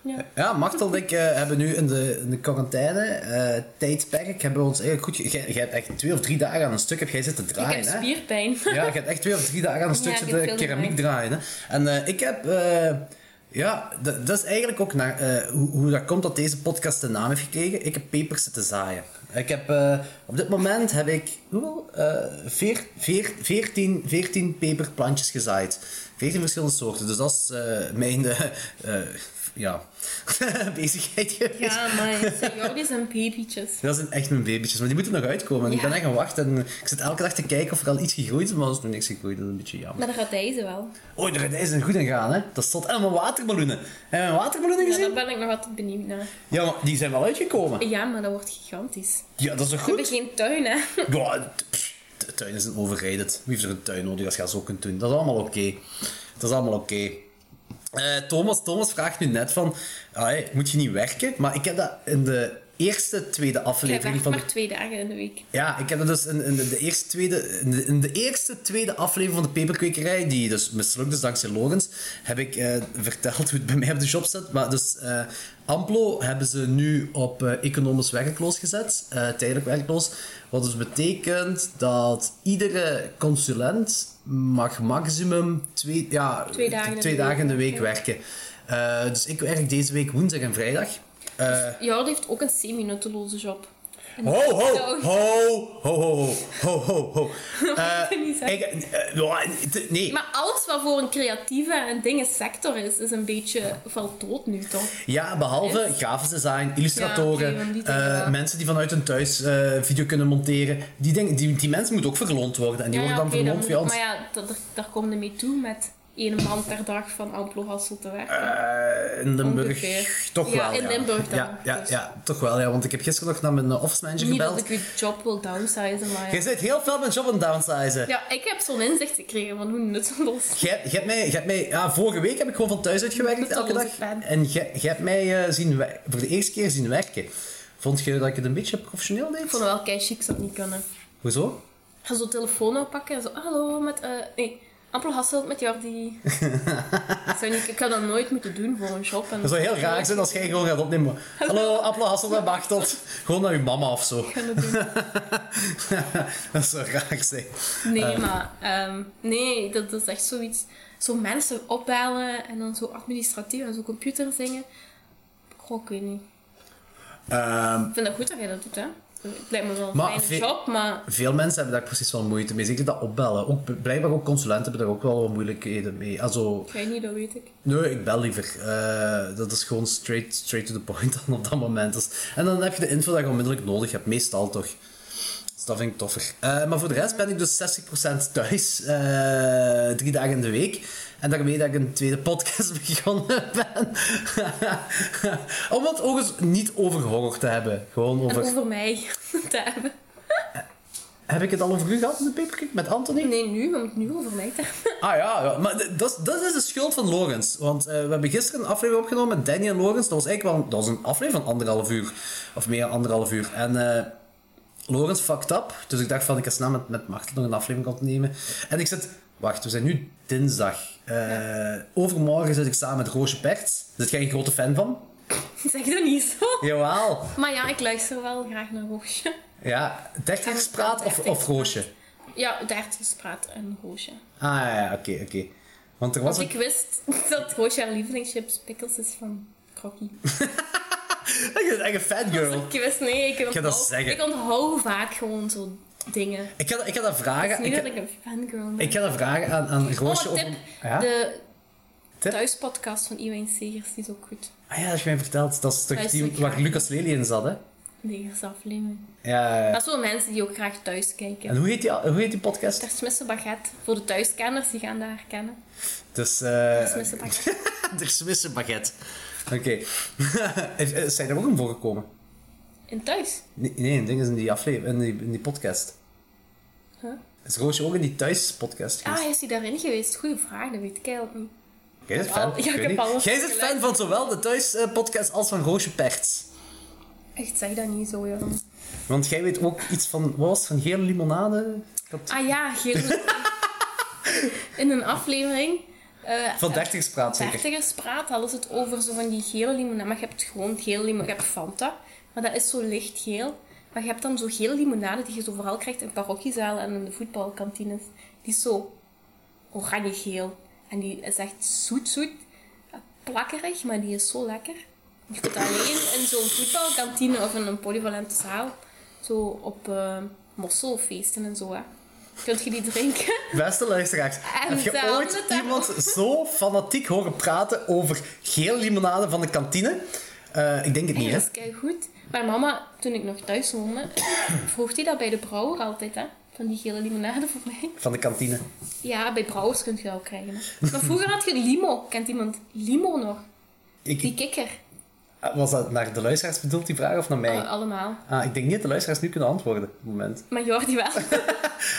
Ja.
Ja, Martel en ik eh, hebben nu in de, in de quarantaine eh, tijdperk hebben we ons eigenlijk goed... ge- Jij jij hebt echt twee of drie dagen aan een stuk heb jij zitten
Ik
draaien,
heb
hè?
spierpijn.
Ja, ik heb echt twee of drie dagen aan een stuk
Oh, Ja, ik heb
zitten
veel
keramiek
gedaan.
draaien. Hè. En eh, ik heb... eh, ja, dat, dat is eigenlijk ook naar, eh, hoe, hoe dat komt dat deze podcast de naam heeft gekregen. Ik heb pepers zitten zaaien. Ik heb, eh, op dit moment heb ik hoeveel? Eh, veer, veer, 14, 14 peperplantjes gezaaid. 14 verschillende soorten. Dus dat is eh, mijn eh, eh, ja, (laughs) bezigheid geweest.
(laughs) Ja, maar senioren zijn babytjes.
Dat zijn echt mijn babytjes, maar die moeten nog uitkomen. En Ik
Ja.
ben echt aan het wachten. en Ik zit elke dag te kijken of er al iets gegroeid is, maar er is nog niks gegroeid. Dat is een beetje jammer.
Maar dat gaat deze wel.
Oh, daar is een goed in gaan, hè? Dat stond. En mijn waterballonnen. Heb je mijn waterballonnen
Ja,
gezien?
daar ben ik nog altijd benieuwd naar.
Ja, maar die zijn wel uitgekomen.
Ja, maar dat wordt gigantisch.
Ja, dat is toch
We hebben
goed?
geen tuin, hè.
Ja, t- pff, de tuin is een overrated. Wie heeft er een tuin nodig als je dat zo kunt doen? Dat is allemaal oké. Dat is allemaal oké. Eh, Thomas, Thomas vraagt nu net van, ah, hey, moet je niet werken? Maar ik heb dat in de eerste, tweede
Jij
aflevering
werkt
van de
maar twee dagen in de week.
Ja, ik heb dat dus in, in, de, de eerste, tweede, in, de, in de eerste tweede aflevering van de peperkwekerij, die dus mislukt is dankzij Logans, heb ik eh, verteld hoe het bij mij op de shop zit. Maar dus eh, Amplo hebben ze nu op eh, economisch werkloos gezet, eh, tijdelijk werkloos. Wat dus betekent dat iedere consulent mag maximum twee, ja,
Twee dagen in de
twee
week
dagen in de week werken. Eh, dus ik werk deze week woensdag en vrijdag. Eh,
Jordi heeft ook een semi-nutteloze job. En
Ho, ho,
Zo.
ho, ho, ho, ho, ho,
(laughs)
ho. Eh,
kan niet zeggen.
ik, eh, ja, het- nee,
Maar alles wat voor een creatieve en dingen sector is, is een beetje valt dood nu, toch?
ja, behalve grafisch design, illustratoren,
Ja, oké, want die
eh,
dingen wel.
mensen die vanuit hun thuis eh, video kunnen monteren. Die, dingen, die, die mensen moeten ook verloond worden en die worden dan
oké, dat
verloond via
moet-
ons.
Maar ja, dat, daar, daar komen we mee toe met één man per dag van Amplo Hassel te werken.
Eh, in Limburg
Ongeveer.
toch
Ja,
wel.
in Limburg dan,
Ja, ja,
dus.
ja, toch wel, ja, want ik heb gisteren nog naar mijn eh, office manager
Niet
gebeld.
dat ik je job wil downsizen, maar
Jij
ja.
zit heel veel met job aan het downsizen.
Ja, ik heb zo'n inzicht gekregen van hoe nutteloos.
Jij jij hebt mij, jij hebt mij ja, vorige week heb ik gewoon van thuis uitgewerkt
Met
elke
onze
dag.
pen.
En jij jij hebt mij eh, zien wer- voor de eerste keer zien werken. Vond je dat ik het een beetje professioneel deed?
Ik vond het wel kei chic, ik zou het niet kunnen.
Hoezo?
Ik ga zo telefoon oppakken en zo, hallo, met, eh, nee, Amplo Hassel
(laughs)
met Jordi. ik, zou niet, ik had dat nooit moeten doen voor een job. En
Dat zou heel raar zijn als jij gewoon gaat opnemen. Hallo, Appel, Hassel en Bartelt. Gewoon naar je mama of zo.
Ik ga dat doen.
dat zou raar zijn. Eh.
Nee, maar ehm, nee, dat, dat is echt zoiets. Zo mensen opbellen en dan zo administratief en zo computer zingen. Goh, ik weet niet.
Ehm,
Ik vind het goed dat jij dat doet, hè? Het lijkt me wel een
Maar
fijne
ve-
job, maar
veel mensen hebben daar precies wel moeite mee. Zeker dat opbellen. Ook, blijkbaar ook consulenten hebben daar ook wel wat moeilijkheden mee. Also,
ik weet niet, dat weet ik.
Nee, ik bel liever. Eh, dat is gewoon straight, straight to the point (laughs) dan op dat moment. Dus, en dan heb je de info dat je onmiddellijk nodig hebt, meestal toch. Dus dat vind ik toffer. Eh, maar voor de rest ben ik dus 60% thuis, eh, drie dagen in de week. En daarmee dat ik een tweede podcast (laughs) begonnen ben. (laughs) Om het ook eens niet over horror te hebben. Gewoon
En
over...
over mij (laughs) te hebben.
Heb ik het al over u gehad in de paperclip met Anthony?
Nee, nu, we moeten het nu over mij te hebben. (laughs)
Ah ja, ja. maar d- dat is- dat is de schuld van Logans. Want eh, we hebben gisteren een aflevering opgenomen met Danny en Logans. Dat was eigenlijk wel een, dat was een aflevering van anderhalf uur. Of meer dan anderhalf uur. En eh Logans fucked up. Dus ik dacht van, ik ga snel met, met Martel nog een aflevering opnemen. En ik zit... Wacht, we zijn nu dinsdag. Eh, Overmorgen zit ik samen met Roosje Perts. Zit jij een grote fan van?
Zeg dat niet zo.
Jawel.
Maar ja, ik luister wel graag naar Roosje.
Ja, dertigerspraat of, of Roosje?
Ja, dertigerspraat en Roosje.
Ah ja, ja, oké, oké. Want er was
Want
een...
ik wist (laughs) dat Roosje haar lievelingschips pickles is van Krokkie.
(laughs) Ik ben echt een fangirl.
Ik wist, nee, ik
ga
onthoud,
dat zeggen.
ik onthoud vaak gewoon zo dingen.
Ik ga, ik ga dat
Het
vragen...
is niet
Ik
dat
ga,
ik een fangirl ben.
ik ga dat vragen aan, aan
Oh,
Roosje
een tip.
over... Ja?
De
Tip?
thuispodcast van Iwijn Segers die is ook goed.
Ah ja, dat is mij verteld. Dat is toch
Thuis
die
ook
waar
graag.
Lucas Lely in zat, hè?
Negers aflevering.
Ja, ja, ja.
Dat zijn wel mensen die ook graag thuis kijken.
En hoe heet die, hoe heet die podcast?
Tersmisse Baguette. Voor de thuiskenners, die gaan dat herkennen.
Dus...
(laughs)
eh
Tersmisse
(laughs)
Baguette.
de Smisse Baguette. Oké. (laughs) Heeft- eh, Zijn er ook een voorgekomen?
In thuis.
Nee, nee, een ding is in die aflevering, in die, in die podcast.
Huh?
Is Roosje ook in die thuis-podcast geweest?
Ah, is hij daarin geweest? Goeie vraag, dat weet ik eigenlijk niet.
Jij bent fan.
Al- ja, ik
weet
heb
niet.
alles
Jij bent fan
geluisterd.
van zowel de thuis-podcast als van Roosje Perts.
Echt, zeg dat niet zo,
(laughs)
joh.
Want jij weet ook iets van, wat was het, van gele limonade? Ik had-
Ah ja,
(laughs)
geel. In een aflevering. eh
Van dertigerspraat zeker.
Dertigerspraat hadden ze het over zo van die gele limonade. Maar je hebt gewoon gele limonade. Je hebt Fanta, maar dat is zo lichtgeel. Maar je hebt dan zo gele limonade die je zo vooral krijgt in parochiezalen en in de voetbalkantines. Die is zo oranje-geel. En die is echt zoet-zoet, plakkerig, maar die is zo lekker. Je kunt dat alleen in zo'n voetbalkantine of in een polyvalente zaal. Zo op eh, mosselfeesten en zo, hè. Kunt je die drinken?
Beste luisteraars,
En
heb je
dan
ooit
het daar-
iemand zo fanatiek horen praten over gele limonade van de kantine? Eh, ik denk het niet, hè?
Dat is goed. Maar mama, toen ik nog thuis woonde, (coughs) vroeg die dat bij de brouwer altijd, hè? Van die gele limonade voor mij.
Van de kantine.
Ja, bij brouwers kun je dat ook krijgen. Hè? Maar vroeger had je limo. Kent iemand limo nog?
Ik, eh,
Die kikker.
was dat naar de luisteraars bedoeld, die vraag, of naar mij?
Eh, allemaal.
Ah, ik denk niet dat de luisteraars nu kunnen antwoorden op het moment.
Maar Jordi wel. (laughs)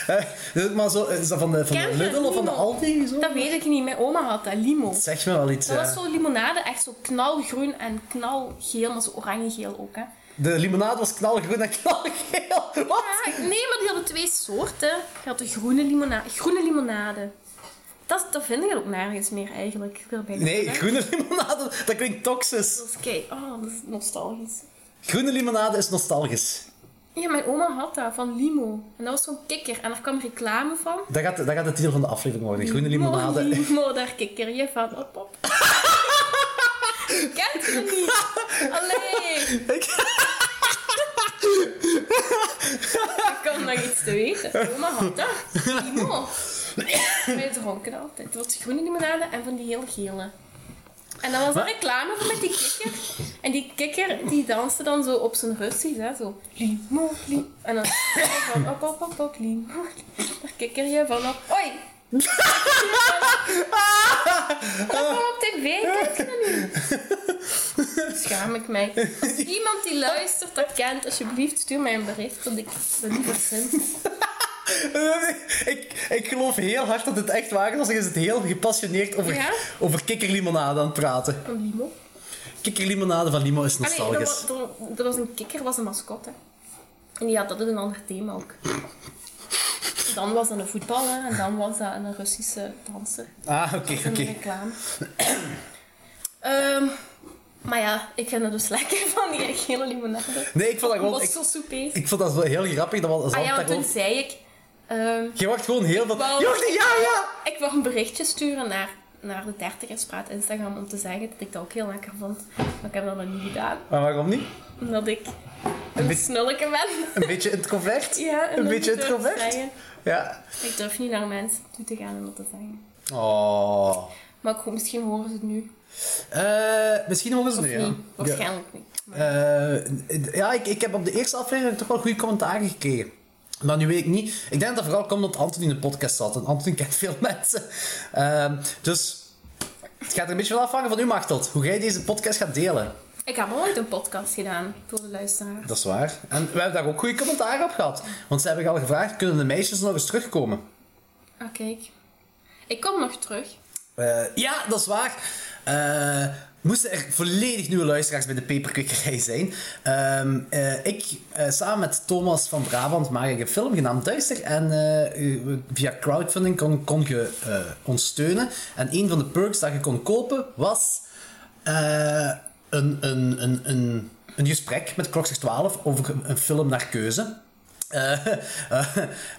Eh, is het maar zo, is dat van de, van de
Ken je
Lidl of van de
niemand?
Aldi? Zo?
Dat weet ik niet. Mijn oma had dat, limo.
Zeg me wel iets.
Dat
ja.
was zo limonade, echt zo knalgroen en knalgeel, maar zo oranje-geel ook, hè.
De limonade was knalgroen en knalgeel. (laughs) Wat?
Ah, nee, maar die hadden twee soorten. Je had de groene limonade. Groene limonade. Dat, dat vind ik ook nergens meer, eigenlijk. Ik wil bijna
Nee,
zeggen.
groene limonade, dat klinkt toxisch.
Dat is kei... Oh, dat is nostalgisch.
Groene limonade is nostalgisch.
Ja, mijn oma had dat, van Limo. En dat was zo'n kikker. En daar kwam reclame van.
Dat gaat, dat gaat de titel van de aflevering worden. Groene limonade.
(laughs) Limo, daar kikker je van. Op, op. Kent je niet? Allee.
Ik-
Ik kwam nog iets te weten. Mijn Oma had dat. Limo. Wij dronken dat altijd. Dat was groene limonade en van die heel gele. En dan was er
Maar-
reclame van met die kikker. En die kikker die danste dan zo op zijn Russisch, hè, zo. Limo, limo. En dan van op, op, op, op, limo. Daar kikker je van op. Oi! Dat kwam op tv, kent je dat niet? (laughs) Schaam ik mij. Als iemand die luistert dat kent, alsjeblieft stuur mij een bericht dat ik ben niet verzin.
ik, ik geloof heel hard dat het echt waar is, als is het heel gepassioneerd over,
Ja?
over kikkerlimonade aan het praten.
Een limo.
Kikkerlimonade van Limo is
Allee, Ah, er,
nostalgisch.
was, er, er was een kikker, was een mascotte. En die had altijd een ander thema ook. Dan was dat een voetballer en dan was dat een Russische danser.
Ah, oké, oké.
Een reclame. Ehm, maar ja, ik vind het dus lekker van die gele limonade.
Nee, ik vond dat gewoon... Ik,
Mosselsoepé.
ik vond dat wel heel grappig. Dat was,
Ah ja,
dat
want toen
gewoon,
zei ik... ehm,
je wacht gewoon heel veel...
Wou-
Jordi, ja, ja!
ik wou een berichtje sturen naar, naar de dertigerspraat Instagram om te zeggen dat ik dat ook heel lekker vond. Maar ik heb dat nog niet gedaan.
Maar waarom niet?
Omdat ik
Een
een
beetje-
snulleke ben.
Een beetje introvert?
Ja, en
Een
dan
beetje
durf ik
introvert?
zeggen.
Ja.
Ik durf niet naar mensen toe te gaan en dat te zeggen.
Oh.
Maar ik, hoop- misschien horen ze het nu.
Eh, misschien horen ze
Of
het nu, ja.
niet.
Ja.
Waarschijnlijk niet. Maar
Eh, ja, ik, ik heb op de eerste aflevering toch wel goede commentaren gekregen. Maar nu weet ik niet. Ik denk dat dat vooral komt omdat Anthony in de podcast zat. En Anthony (laughs) kent veel mensen. Ehm, dus het gaat er een beetje van afhangen van u, Machtelt. Hoe jij deze podcast gaat delen.
ik heb al ooit een podcast gedaan voor de luisteraar.
Dat is waar. En we hebben daar ook goede commentaar op gehad. Want ze hebben al gevraagd, kunnen de meisjes nog eens terugkomen?
Ah, kijk. Ik kom nog terug.
Eh, ja, dat is waar. Eh, moesten er volledig nieuwe luisteraars bij de Peperkwekerij zijn. Ehm, eh, ik, eh, samen met Thomas van Brabant, maak ik een film genaamd Duister. En eh, u- via crowdfunding kon, kon je eh, ons steunen. En een van de perks dat je kon kopen was eh, een, een, een, een, een gesprek met Klokster 12 over een film naar keuze. Eh, (laughs) eh,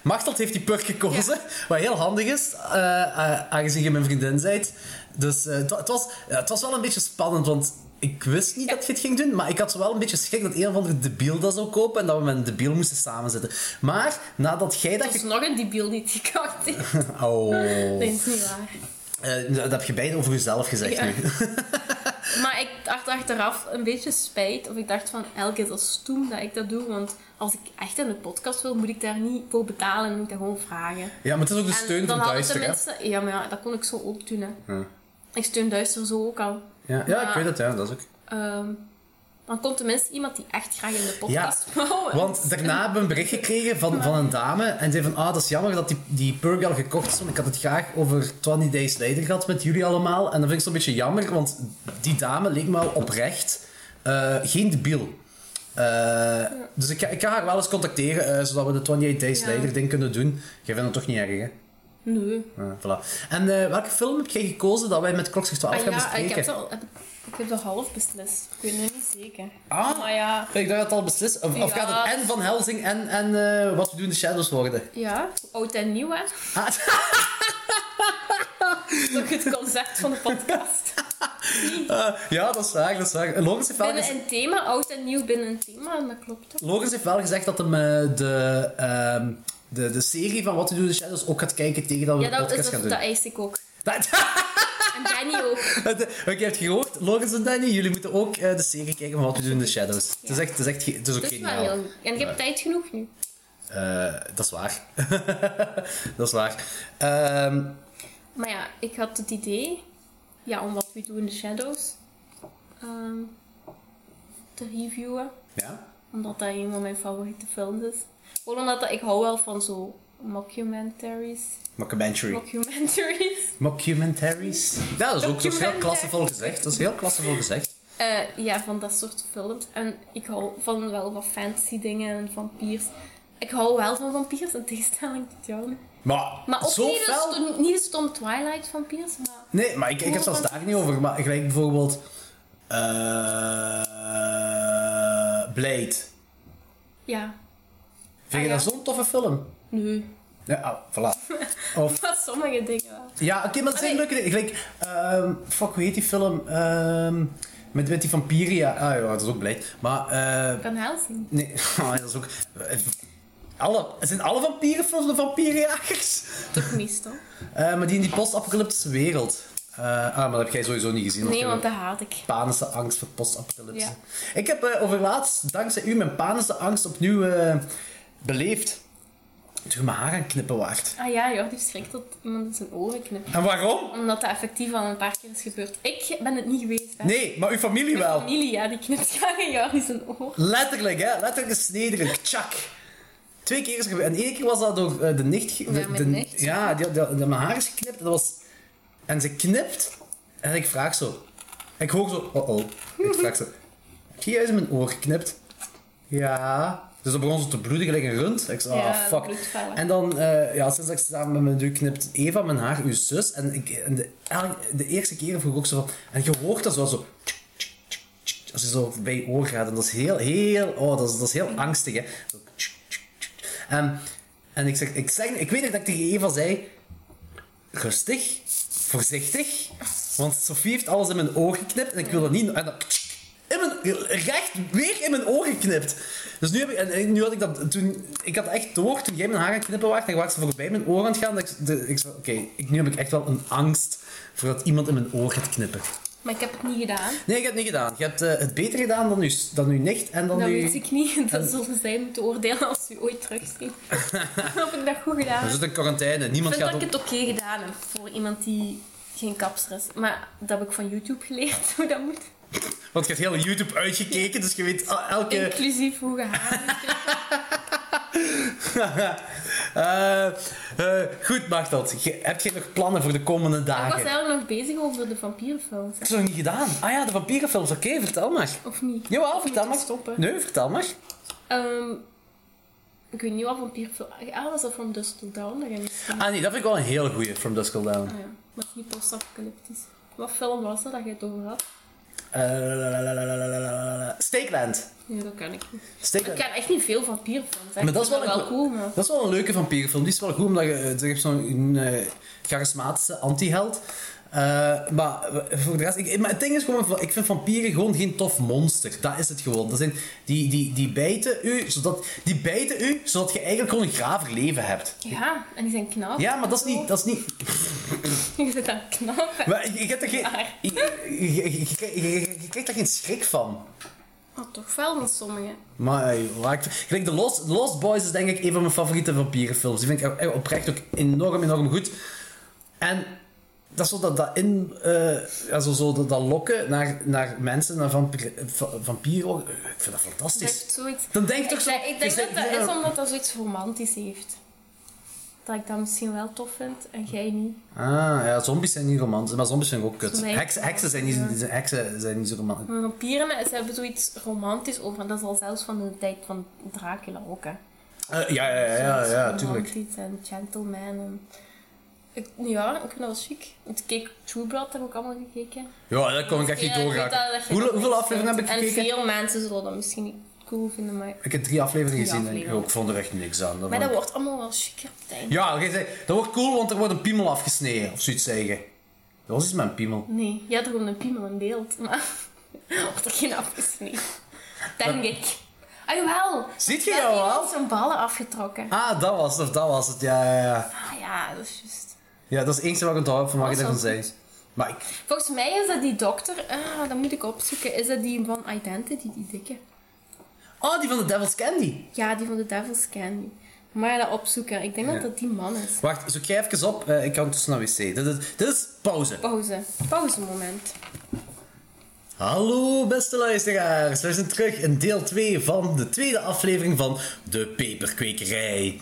Machteld heeft die purk gekozen, wat heel handig is, eh, eh, aangezien je mijn vriendin bent. Dus eh, het wa- het was, ja, het was wel een beetje spannend, want ik wist niet dat je het ging doen, maar ik had wel een beetje schrik dat een of andere debiel dat zou kopen en dat we met een debiel moesten samenzitten. Maar nadat jij dat...
Er is
ge-
nog een debiel die die kaart heeft.
Oh.
Dat is niet waar.
Eh, dat heb je beide over jezelf gezegd
Ja.
nu. (laughs)
Maar ik dacht achteraf een beetje spijt. Of ik dacht van, elke dat is stoem dat ik dat doe. Want als ik echt aan de podcast wil, moet ik daar niet voor betalen. Moet ik dat gewoon vragen.
Ja, maar het is ook de
En
steun
dan
van
hadden
Duister, hè?
tenminste- Ja, maar ja, dat kon ik zo ook doen, hè. Ik steun Duister zo ook al.
Ja, ja, ik
Maar,
weet het, ja, dat is ook.
ehm, dan komt tenminste iemand die echt graag in de podcast (laughs) wou.
Want daarna hebben we een bericht gekregen van, van een dame. En zei van, ah, dat is jammer dat die, die Purge al gekocht is. Want ik had het graag over 20 Days Later gehad met jullie allemaal. En dat vind ik zo'n beetje jammer, want die dame leek me al oprecht eh, geen debiel. Eh, dus ik ga, ik ga haar wel eens contacteren, eh, zodat we de 28 Days
Ja.
Later ding kunnen doen. Jij vindt het toch niet erg, hè?
Nee.
Ja, voilà. En eh, welke film heb jij gekozen dat wij met Klokzicht 12
Ah
gaan
ja,
bespreken?
ik heb, al, ik heb dat half beslist. Ik weet het niet zeker.
Ah.
Maar ja,
Ik dacht dat het al beslist. Of, of
Ja.
gaat het en Van Helsing en, en eh, Wat We Doen in de Shadows worden?
ja, oud en nieuw, hè.
Ah,
(laughs) Dat is het concept van de podcast.
Eh, ja, dat is waar, dat is waar. Logans heeft, wel
Binnen
gez-
een thema, oud en nieuw binnen een thema, en dat klopt toch?
Logans heeft wel gezegd dat hem eh, de, ehm, de, de serie van What to Do in the Shadows ook gaat kijken tegen dat we
Ja,
de
dat, is,
podcast
dat,
gaan doen.
dat eis ik ook.
(laughs) Dat-
(laughs) En Danny ook.
Oké, je hebt gehoord, Logans en Danny, jullie moeten ook eh, de serie kijken van What to Do in the Shadows. Het is echt, het is echt ge- het is ook
Dat is Dus maar
geniaal.
heel goed. En je hebt tijd genoeg nu.
Eh, dat is waar. (laughs) dat is waar. Ehm,
Maar ja, ik had het idee, ja, om wat we doen in de Shadows ehm, te reviewen.
ja.
Omdat dat een van mijn favoriete films is. Gewoon omdat dat, ik hou wel van zo mockumentaries.
Mockumentary. (laughs)
Mockumentaries.
Mockumentaries. Ja, dat is ook dat is heel
Mockumentary.
klassevol gezegd. Dat is heel klassevol gezegd.
Eh, ja, van dat soort films. En ik hou van wel wat fantasy dingen en vampiers. Ik hou wel van vampiers, in tegenstelling tot jou.
Maar,
Maar ook
zo
niet,
fel-
de stom, niet de stom Twilight vampiers, maar...
Nee, maar ik, ik heb zelfs daar niet over. Maar gelijk bijvoorbeeld... eh, Blade.
Ja,
Vind
(laughs)
je
Ah, ja.
dat zo'n toffe film?
nu.
Ja, ah, voilà. Of,
Maar sommige dingen wel.
ja, oké, maar het zijn
Allee.
leuke dingen. Gelijk, ehm, fuck, hoe heet die film? Ehm, met, met die vampiria. Ah ja, dat is ook Blade. Maar, eh,
Van Helsing.
nee, (laughs) ah, dat is ook... Alle, zijn alle vampierenfilms de vampierenjagers?
Toch meestal.
(laughs) Eh, maar die in die post-apocalyptische wereld. Eh, ah, maar dat heb jij sowieso niet gezien.
Nee,
jij-
want dat haat ik.
panische angst voor postapocalypse.
Ja.
Ik heb eh, overlaatst, dankzij u, mijn panische angst opnieuw eh, beleefd. Toen je mijn haar aan het knippen waard.
Ah ja, Jordi schrikt dat iemand in zijn oren knipt.
En waarom?
Omdat dat effectief al een paar keer is gebeurd. Ik ben het niet geweest, hè.
Nee, maar uw familie
Mijn
wel.
familie, ja, die knipt graag in Jordi zijn oor.
Letterlijk, hè? Letterlijk een snederig. Tjak. Twee keer is gebeurd. En één keer was dat door eh, de nicht. ge-
Ja,
de,
mijn
de-
nicht.
Ja, die, die, die, mijn haar is geknipt. En, dat was, en ze knipt. En ik vraag zo. En ik hoor zo. Oh oh. Ik vraag zo. Heb je juist in mijn oor geknipt? Ja. Dus dat begon zo te bloeden gelijk een rund. Ik zei,
Ja,
ah, fuck.
bloedvallen.
En dan, eh, ja, sinds dat ik samen met mijn duw knipt, Eva, mijn haar, uw zus. En, ik, en de, elk- de eerste keer vroeg ik ook zo van... En je hoort dat zo, zo... tsk, tsk, tsk, tsk, Als je zo bij je oor gaat. En dat is heel, heel... Oh, dat is, dat is heel angstig, hè. Zo, tsk, tsk, tsk. En, en ik, zeg, ik, zeg, ik weet nog dat ik tegen Eva zei... Rustig. Voorzichtig. Want Sofie heeft alles in mijn oor geknipt. En ik wil dat niet... En dan, tsk, in mijn, recht weer in mijn oor geknipt. Dus nu, heb ik, en- en nu had ik dat... Toen, ik had echt door toen jij mijn haar aan het knippen was. En ik was voorbij mijn oor aan het gaan. Dat ik, de- ik zei, oké, ik, nu heb ik echt wel een angst voor dat iemand in mijn oor gaat knippen.
Maar ik heb het niet gedaan.
Nee, ik heb het niet gedaan. Je hebt eh, het beter gedaan dan uw, s- dan uw nicht en dan
Dat
uw...
weet ik niet. Dat zullen zij moeten oordelen als u ooit
(laughs)
terugziet. of ik dat goed gedaan
We
(laughs) heb.
zitten in quarantaine.
Ik
Niemand
vind
gaat
dat ik
op...
het oké gedaan heb voor iemand die geen kapster is. Maar dat heb ik van YouTube geleerd (laughs) hoe dat moet.
Want je hebt heel YouTube uitgekeken, dus je weet ah, elke...
Inclusief hoe gehaald.
(laughs) Eh, eh, goed, Machteld. Je, heb jij nog plannen voor de komende
Ik was
dagen?
eigenlijk nog bezig over de vampierenfilms. hè.
Dat is nog niet gedaan. Ah ja, de vampierenfilms. Oké, vertel maar.
Of niet?
Jawel,
Of
vertel
moet
maar.
ik stoppen?
Nee, vertel maar.
Ehm, ik weet niet wat vampierfilm... Ah, was dat van Dust Till Dawn? Dat ga ik niet zien.
Ah nee, dat vind ik wel een heel goeie, From Dusk Till Dawn.
Ah ja, maar het is niet post-apocalyptisch. Wat film was dat dat je het over had?
Eh, la, la, la, la, la, la, la, la, la. Stakeland.
Nee, dat kan ik niet.
Steek
Ik kan echt niet veel vampierfilms. hè.
Maar dat is
Ik
wel,
vind
een,
dat cool, maar...
dat is wel een leuke vampierenfilm. Die is wel goed, omdat je, eh, je hebt zo'n eh, charismatische anti-held. Eh, maar voor de rest... Ik, maar het ding is gewoon... Ik vind vampieren gewoon geen tof monster. Dat is het gewoon. Dat zijn, die, die, die, bijten u, zodat, die bijten u, zodat je eigenlijk gewoon een graver leven hebt.
Ja, en die zijn knap. (laughs)
Ja, maar dat is niet... Dat is niet
Je zit aan knap.
maar je, je hebt er (laughs) geen,
Maar-
je, je, je- je- je- je- je krijgt daar geen schrik van.
Maar toch wel met sommigen.
Maar ey, waar ik- gelijk de Lost, Lost Boys is denk ik een van mijn favoriete vampierenfilms. Die vind ik echt oprecht ook enorm, enorm goed. En dat is zo dat, dat in... eh, ja, zo, zo dat, dat lokken naar, naar mensen, naar vampier, va- vampieren. eh, Ik vind dat
Dat
fantastisch.
is zoiets...
Dan denk ik
Ik,
toch zo...
denk- ik denk
je
dat dat
zegt-
is omdat dat zoiets romantisch heeft. Dat ik dat misschien wel tof vind en jij niet.
Ah, ja, zombies zijn niet romantisch. Maar zombies zijn ook kut.
Nee.
Heksen, heksen, zijn niet,
Ja. Hm.
die zijn- heksen zijn niet zo romantisch.
Maar vampieren, ze hebben zoiets romantisch over. En dat is al zelfs van de tijd van Dracula ook, hè.
Eh, ja, ja, ja, ja, ja,
Zoiets
tuurlijk.
romantisch en gentleman. En... Ik, ja, ik vind dat wel chic. Ik keek True Blood, heb ik allemaal gekeken.
Ja, daar kon ik echt niet
Ja, ik weet
doorraken.
dat- dat je
Hoeveel,
dat
hoeveel
niet
afleveringen heb
vindt.
ik gekeken?
En veel mensen zullen dat misschien niet cool vinden, maar...
Ik heb drie afleveringen
Drie
gezien en
afleveringen.
ik vond er echt niks aan. Dat
Maar
vond
dat
ik-
wordt allemaal wel chic op het einde.
Ja, jij zei, dat wordt cool, want er wordt een piemel afgesneden. Of zoiets zeggen. Dat was iets met een piemel.
Nee, jij had er gewoon een piemel in beeld, maar... (laughs) wordt er geen afgesneden. Denk ik. Ah, jawel!
Ziet je
Wel
jou
iemand
al?
zijn ballen afgetrokken.
Ah, dat was het, of dat was het. Ja, ja, ja.
Ah ja, dat is juist.
Ja, dat is het enige wat ik onthouden heb van wat je
Dat
daarvan
is wel
zei. Maar ik...
Volgens mij is dat die dokter... Ah, dat moet ik opzoeken. Is dat die van Identity, die dikke?
Oh, die van de Devil's Candy.
Ja, die van de Devil's Candy. Maar dat opzoeken. Ik denk dat dat die man is.
Wacht, zoek jij even op. Eh, ik ga ondertussen naar wc. Dit is, dit is pauze.
Pauze. Pauzemoment.
Hallo beste luisteraars, we zijn terug in deel 2 van de tweede aflevering van De Peperkwekerij.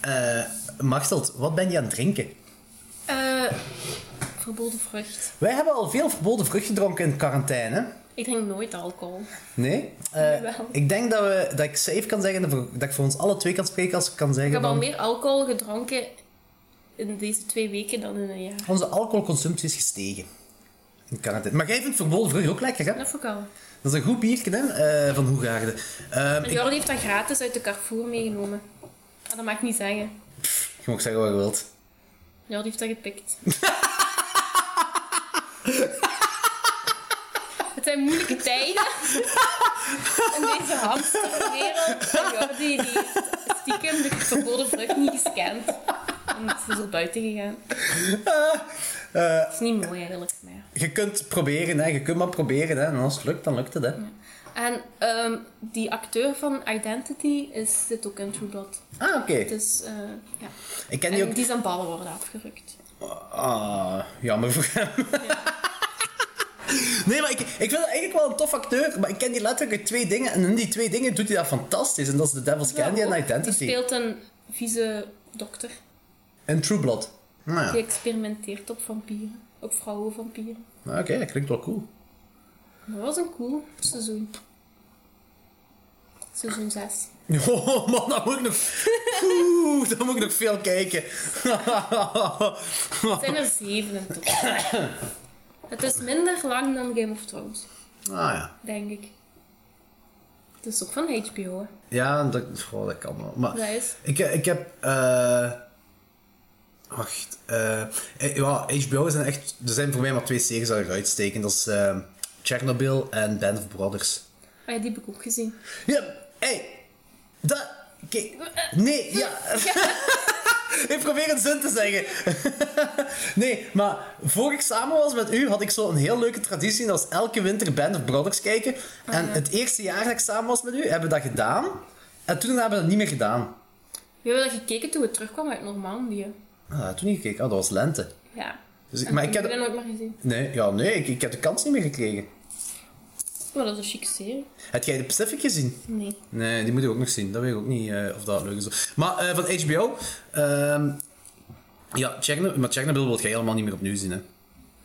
Eh Machteld, wat ben je aan het drinken?
Eh verboden vrucht.
Wij hebben al veel verboden vrucht gedronken in quarantaine.
Ik drink nooit alcohol.
Nee? Eh,
Jawel.
ik denk dat, we, dat ik safe kan zeggen, dat we- dat ik voor ons alle twee kan spreken als ik kan
Ik
zeggen
heb al
van...
meer alcohol gedronken in deze twee weken dan in een jaar.
Onze alcoholconsumptie is gestegen. In quarantaine. Maar jij vindt verboden vrucht ook lekker, hè?
Dat vond ik al.
Dat is een goed biertje, hè? eh, van Hoegaarden. Ehm ik,
Jordi heeft dat gratis uit de Carrefour meegenomen. Maar dat mag ik niet zeggen.
je mag zeggen wat je wilt.
Jordi heeft dat gepikt. Het zijn moeilijke tijden in deze hamsterwereld. En Jordi die heeft stiekem de verboden vrucht niet gescand. En ze is er buiten gegaan. Het is niet mooi eigenlijk, maar ja.
Ah, Je kunt proberen, hè? Je kunt maar proberen, hè? En als het lukt, dan lukt het, hè?
En ehm, die acteur van Identity is, zit ook in True Blood.
Ah, oké.
Dus eh, ja.
Ik ken die
En
ook...
die zijn ballen worden afgerukt.
Ah, jammer voor hem. (laughs) Nee, maar ik, ik vind dat eigenlijk wel een tof acteur, maar ik ken die letterlijk uit twee dingen. En in die twee dingen doet hij dat fantastisch. En dat is The Devil's Candy en Identity.
Die speelt een vieze dokter.
En True Blood. Nou
Die
ja,
experimenteert op vampieren. Op vrouwen vampieren.
Ah, oké, dat klinkt wel cool. (laughs)
Dat was een cool seizoen. Seizoen 6.
Oh man, dat moet ik nog...
(laughs)
Oeh, dat moet ik nog veel kijken. (laughs)
Het zijn er 7 in totaal. Het is minder lang dan Game of Thrones,
ah ja.
denk ik. Het is ook van HBO. hè.
Ja, dat, oh, dat kan wel. Maar
Dat is-
ik, ik heb... eh wacht. eh, eh, ja, HBO zijn echt... Er zijn voor mij maar twee series dat eruit steken. Dat is eh, Chernobyl en Band of Brothers.
Ah ja, die heb ik ook gezien.
Ja, hey, dat. Kijk, nee,
(laughs)
ja. ik probeer een zin te zeggen. (laughs) nee, maar voor ik samen was met u, had ik zo'n heel leuke traditie. Dat was elke winter Band of Brothers kijken. En het eerste jaar dat ik samen was met u, hebben we dat gedaan. En toen hebben we dat niet meer gedaan.
We hebben dat gekeken toen we terugkwamen uit Normandië.
Ah, toen niet gekeken. Oh, dat was lente.
Ja.
Dus ik-
En
maar ik
toen
heb-
dat nooit meer gezien.
Nee, ja, nee ik, ik heb de kans niet meer gekregen.
Maar Oh, dat is een chique serie.
Heb jij de Pacific gezien?
Nee.
Nee, die moet ik ook nog zien. Dat weet ik ook niet eh, of dat leuk is. Maar eh, van HBO. ehm, ja, Chernobyl, maar Chernobyl wil jij helemaal niet meer opnieuw zien. Hè?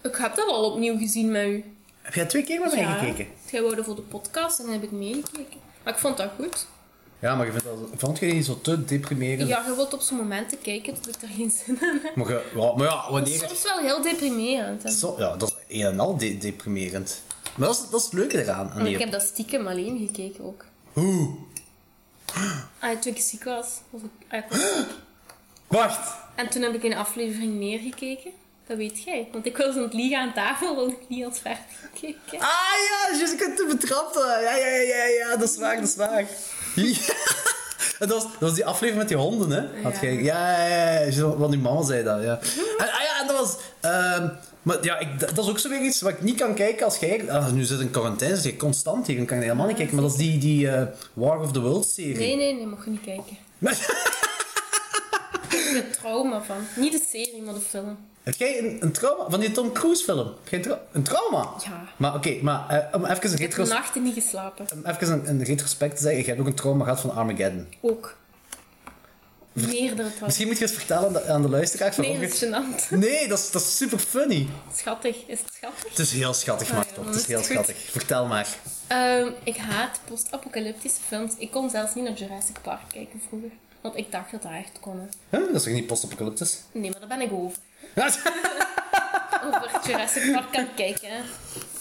Ik heb dat al opnieuw gezien met u.
Heb jij twee keer met mij
Ja.
gekeken?
Jij wou dat voor de podcast en dan heb ik meegekeken. Maar ik vond dat goed.
Ja, maar je vindt dat, vond je die niet zo te deprimerend?
Ja, je wilt op zo'n momenten kijken dat ik daar geen zin in heb.
Maar, je- ja, maar ja,
Dat is
wanneer...
soms wel heel deprimerend. hè.
Zo, ja, dat is een en al de- deprimerend. Maar dat is, dat is het leuke eraan. Aan
En
die...
ik heb dat stiekem alleen gekeken ook.
Hoe?
Ah, toen ik ziek was. was ik, ah, ik was-
Wacht!
En toen heb ik een aflevering meer gekeken. Dat weet jij. Want ik was aan het liegen aan tafel, want ik niet had verder gekeken.
Ah ja, je kunt te betrappen. Ja, ja, ja, ja, ja, dat is waar, dat is waar. (laughs) Ja. Dat, was, dat was die aflevering met die honden, hè? Had
Ja.
jij- ja, ja, ja, ja, zo- want die mama zei dat, (laughs) ja. En, ah ja, en dat was... ehm, maar ja, ik, dat dat is ook zo weer iets wat ik niet kan kijken als jij... ah, nu zit in quarantaine, zit je constant hier, dan kan je helemaal niet kijken. Maar dat is die, die eh, War of the Worlds-serie.
Nee, nee, nee, mocht je niet kijken. (laughs) Ik heb er trauma van. Niet de serie, maar de film.
Heb jij een, een trauma van die Tom Cruise film? Heb jij een tra- een trauma?
Ja.
Maar oké, maar eh, om even een,
Ik heb
retros
nachten niet geslapen.
om even een, een retrospect te zeggen. Jij hebt ook een trauma gehad van Armageddon.
Ook. Meerdere trouwens.
Misschien moet je eens vertellen aan de, aan de luisteraars.
Nee,
waarom
dat is gênant.
je- Nee, dat is, dat is super funny.
Schattig. Is het schattig?
Het is heel schattig,
Ah,
maar
ja,
toch.
dan
Het is
is
heel
het goed.
schattig. Vertel maar.
Ehm, ik haat post-apocalyptische films. Ik kon zelfs niet naar Jurassic Park kijken vroeger. Want ik dacht dat dat echt kon. hè.
Huh? Dat is toch niet post-apocalyptisch? (laughs)
Nee, maar daar ben ik over. (laughs) Over Jurassic Park kan kijken. hè.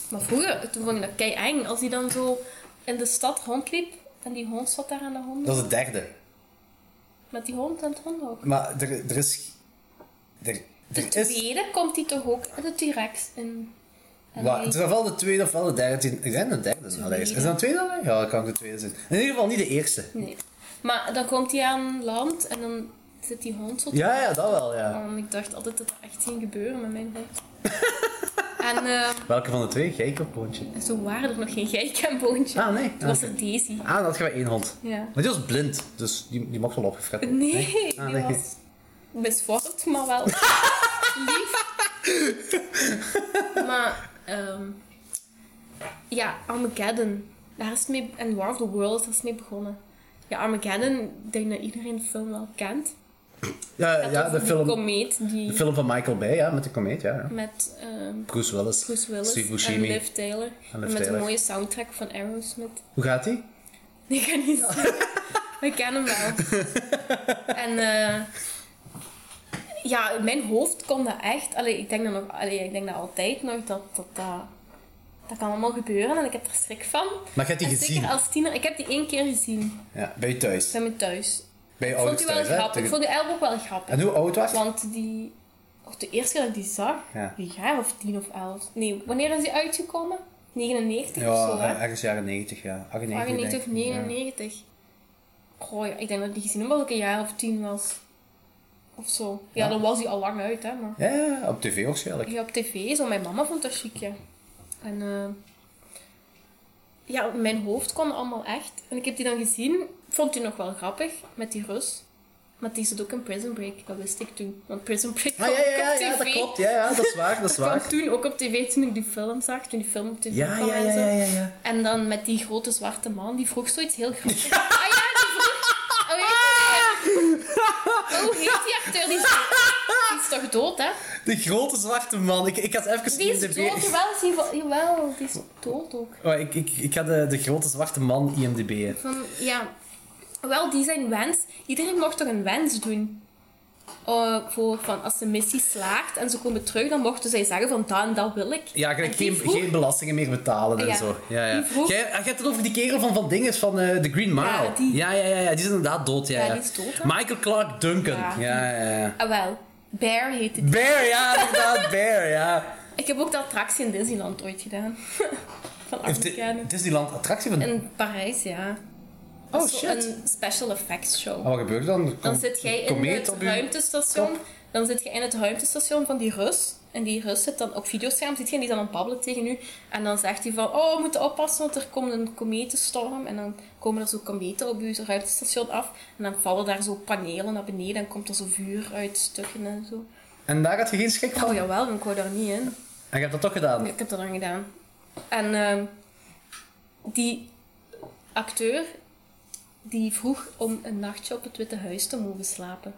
Maar vroeger, toen vond ik dat kei eng. Als die dan zo in de stad rondliep. En die hond zat daar aan de hond.
dat is het derde.
Met die hond en het hond ook.
Maar er, er is... Er,
De
er is...
tweede komt die toch ook de T-Rex in. En
Wat,
die-
het is ofwel de tweede ofwel de derde. Ik denk de derde. is het allereerst. Is dat de tweede? dan? Ja, dat kan ook de tweede zijn. In ieder geval niet de eerste.
Nee. Maar dan komt hij aan land en dan zit die hond zo te
Ja, ja, dat wel, ja.
En ik dacht altijd dat er echt ging gebeuren met mijn hond. (laughs) en eh,
Welke van de twee? Gijk op hondje.
zo waren er nog geen geitenboontjes.
Ah, nee.
Toen was
Oké.
er Daisy.
Ah, dan had je maar één hond.
Ja.
Maar die was blind, dus die, die mocht wel opgefret worden.
Nee,
Ah,
die
nee.
was misvormd, maar wel
(laughs)
lief. maar, ehm ja, Armageddon. Daar is het mee, en War of the Worlds, daar is het mee begonnen. Ja, Armageddon, ik denk dat iedereen de film wel kent.
Ja, ja
Dat is
de,
die
film,
komeet die
de film van Michael Bay, ja, met de komeet, ja. ja.
met ehm,
Bruce Willis.
Bruce Willis
Steve
en
Buscemi.
Liv Taylor. En met
Taylor.
een mooie soundtrack van Aerosmith.
Hoe gaat die?
(laughs) Ik kan niet zeggen. We kennen hem wel. En eh, ja, in mijn hoofd kon dat echt. Allee, ik denk dat nog, allee, ik denk dat altijd nog dat dat, dat dat kan allemaal gebeuren en ik heb er schrik van.
Maar je hebt die
En
gezien?
Zeker als tiener. Ik heb die één keer gezien.
Ja, bij je thuis.
Bij me thuis.
Bij je
Ik
ouders
vond die wel
thuis, hè?
grappig. Ik
Tegen-
vond die eigenlijk ook wel grappig.
En hoe oud was je?
Want die... Of de eerste keer dat ik die zag,
Ja.
een jaar of tien of elf. Nee, wanneer is die uitgekomen? 99 of
Ja,
zo, hè?
eh, ergens jaren 90, ja. 98,
98 of
denk ik. Ja.
99. Goh, ja, ik denk dat ik die gezien heb dat ik een jaar of tien was. Of zo. Ja,
Ja.
dan was hij al lang uit, hè. Maar
Ja, ja, op tv waarschijnlijk.
ja, op tv, zo mijn mama vond dat chic, ja. En eh, ja, in mijn hoofd kon allemaal echt. En ik heb die dan gezien, Ik vond die nog wel grappig, met die Rus. Maar die zit ook in Prison Break, dat wist ik toen. Want Prison Break
Ah,
kwam
ja, ja, ja,
ook op
ja,
tv.
dat klopt. Ja, ja, dat is waar, dat is
kwam
waar.
toen ook op tv, toen ik die film zag, toen die film op tv
Ja,
kwam
ja,
en
ja,
zo.
ja, ja. ja.
En dan met die grote zwarte man, die vroeg zoiets heel grappigs. Ah ja, die vroeg... Oh, ja, Hoe heet die acteur? Die is, die is toch dood, hè?
De grote zwarte man. Ik, ik had even...
Die is
de
dood, jawel, is die, wel- jawel, die is dood ook.
(laughs) Oh, ik, ik, ik ga de, de grote zwarte man IMDb'en.
Van, ja, wel, die zijn wens... Iedereen mocht toch een wens doen? Eh, voor van als de missie slaagt en ze komen terug, dan mochten zij zeggen van dat en dat wil ik.
Ja,
En
gelijk
die
geen,
vroeg- Ah
geen belastingen meer betalen en
Ja.
zo. Ja, ja.
Die vroeg-
Jij, ah, je hebt het over die kerel van Van Dinges van eh The Green Mile.
Ja, die.
Ja, ja, ja, ja, die is inderdaad dood. Ja,
Ja,
ja.
die is dood, hè?
Michael Clark Duncan. Ja,
Ja.
ja, ja.
Ah, wel. Bear heette die.
Bear, ja, inderdaad, Bear, ja.
Ik heb ook de attractie in Disneyland ooit gedaan. (laughs) van
Heeft
Afrikaan.
Di- Disneyland attractie van...
In Parijs, ja.
oh,
Zo
shit.
Een special effects show.
Maar wat gebeurt er dan? Er
Dan
komt
zit jij
een
in
komeet
het
op je-
ruimtestation.
kop.
Dan zit je in het ruimtestation van die Rus. En die Rus zit dan op videoscherm, zit je, en die is aan het babbelen tegen u. En dan zegt hij van, oh, we moeten oppassen, want er komt een kometenstorm. En dan komen er zo kometen op je ruimtestation af. En dan vallen daar zo panelen naar beneden en komt er zo vuur uit stukken en zo.
En daar had je geen schrik van?
Oh jawel, ik wou daar niet in.
En je hebt dat toch gedaan?
Ja, Ik heb dat dan gedaan. En ehm, die acteur die vroeg om een nachtje op het Witte Huis te mogen slapen.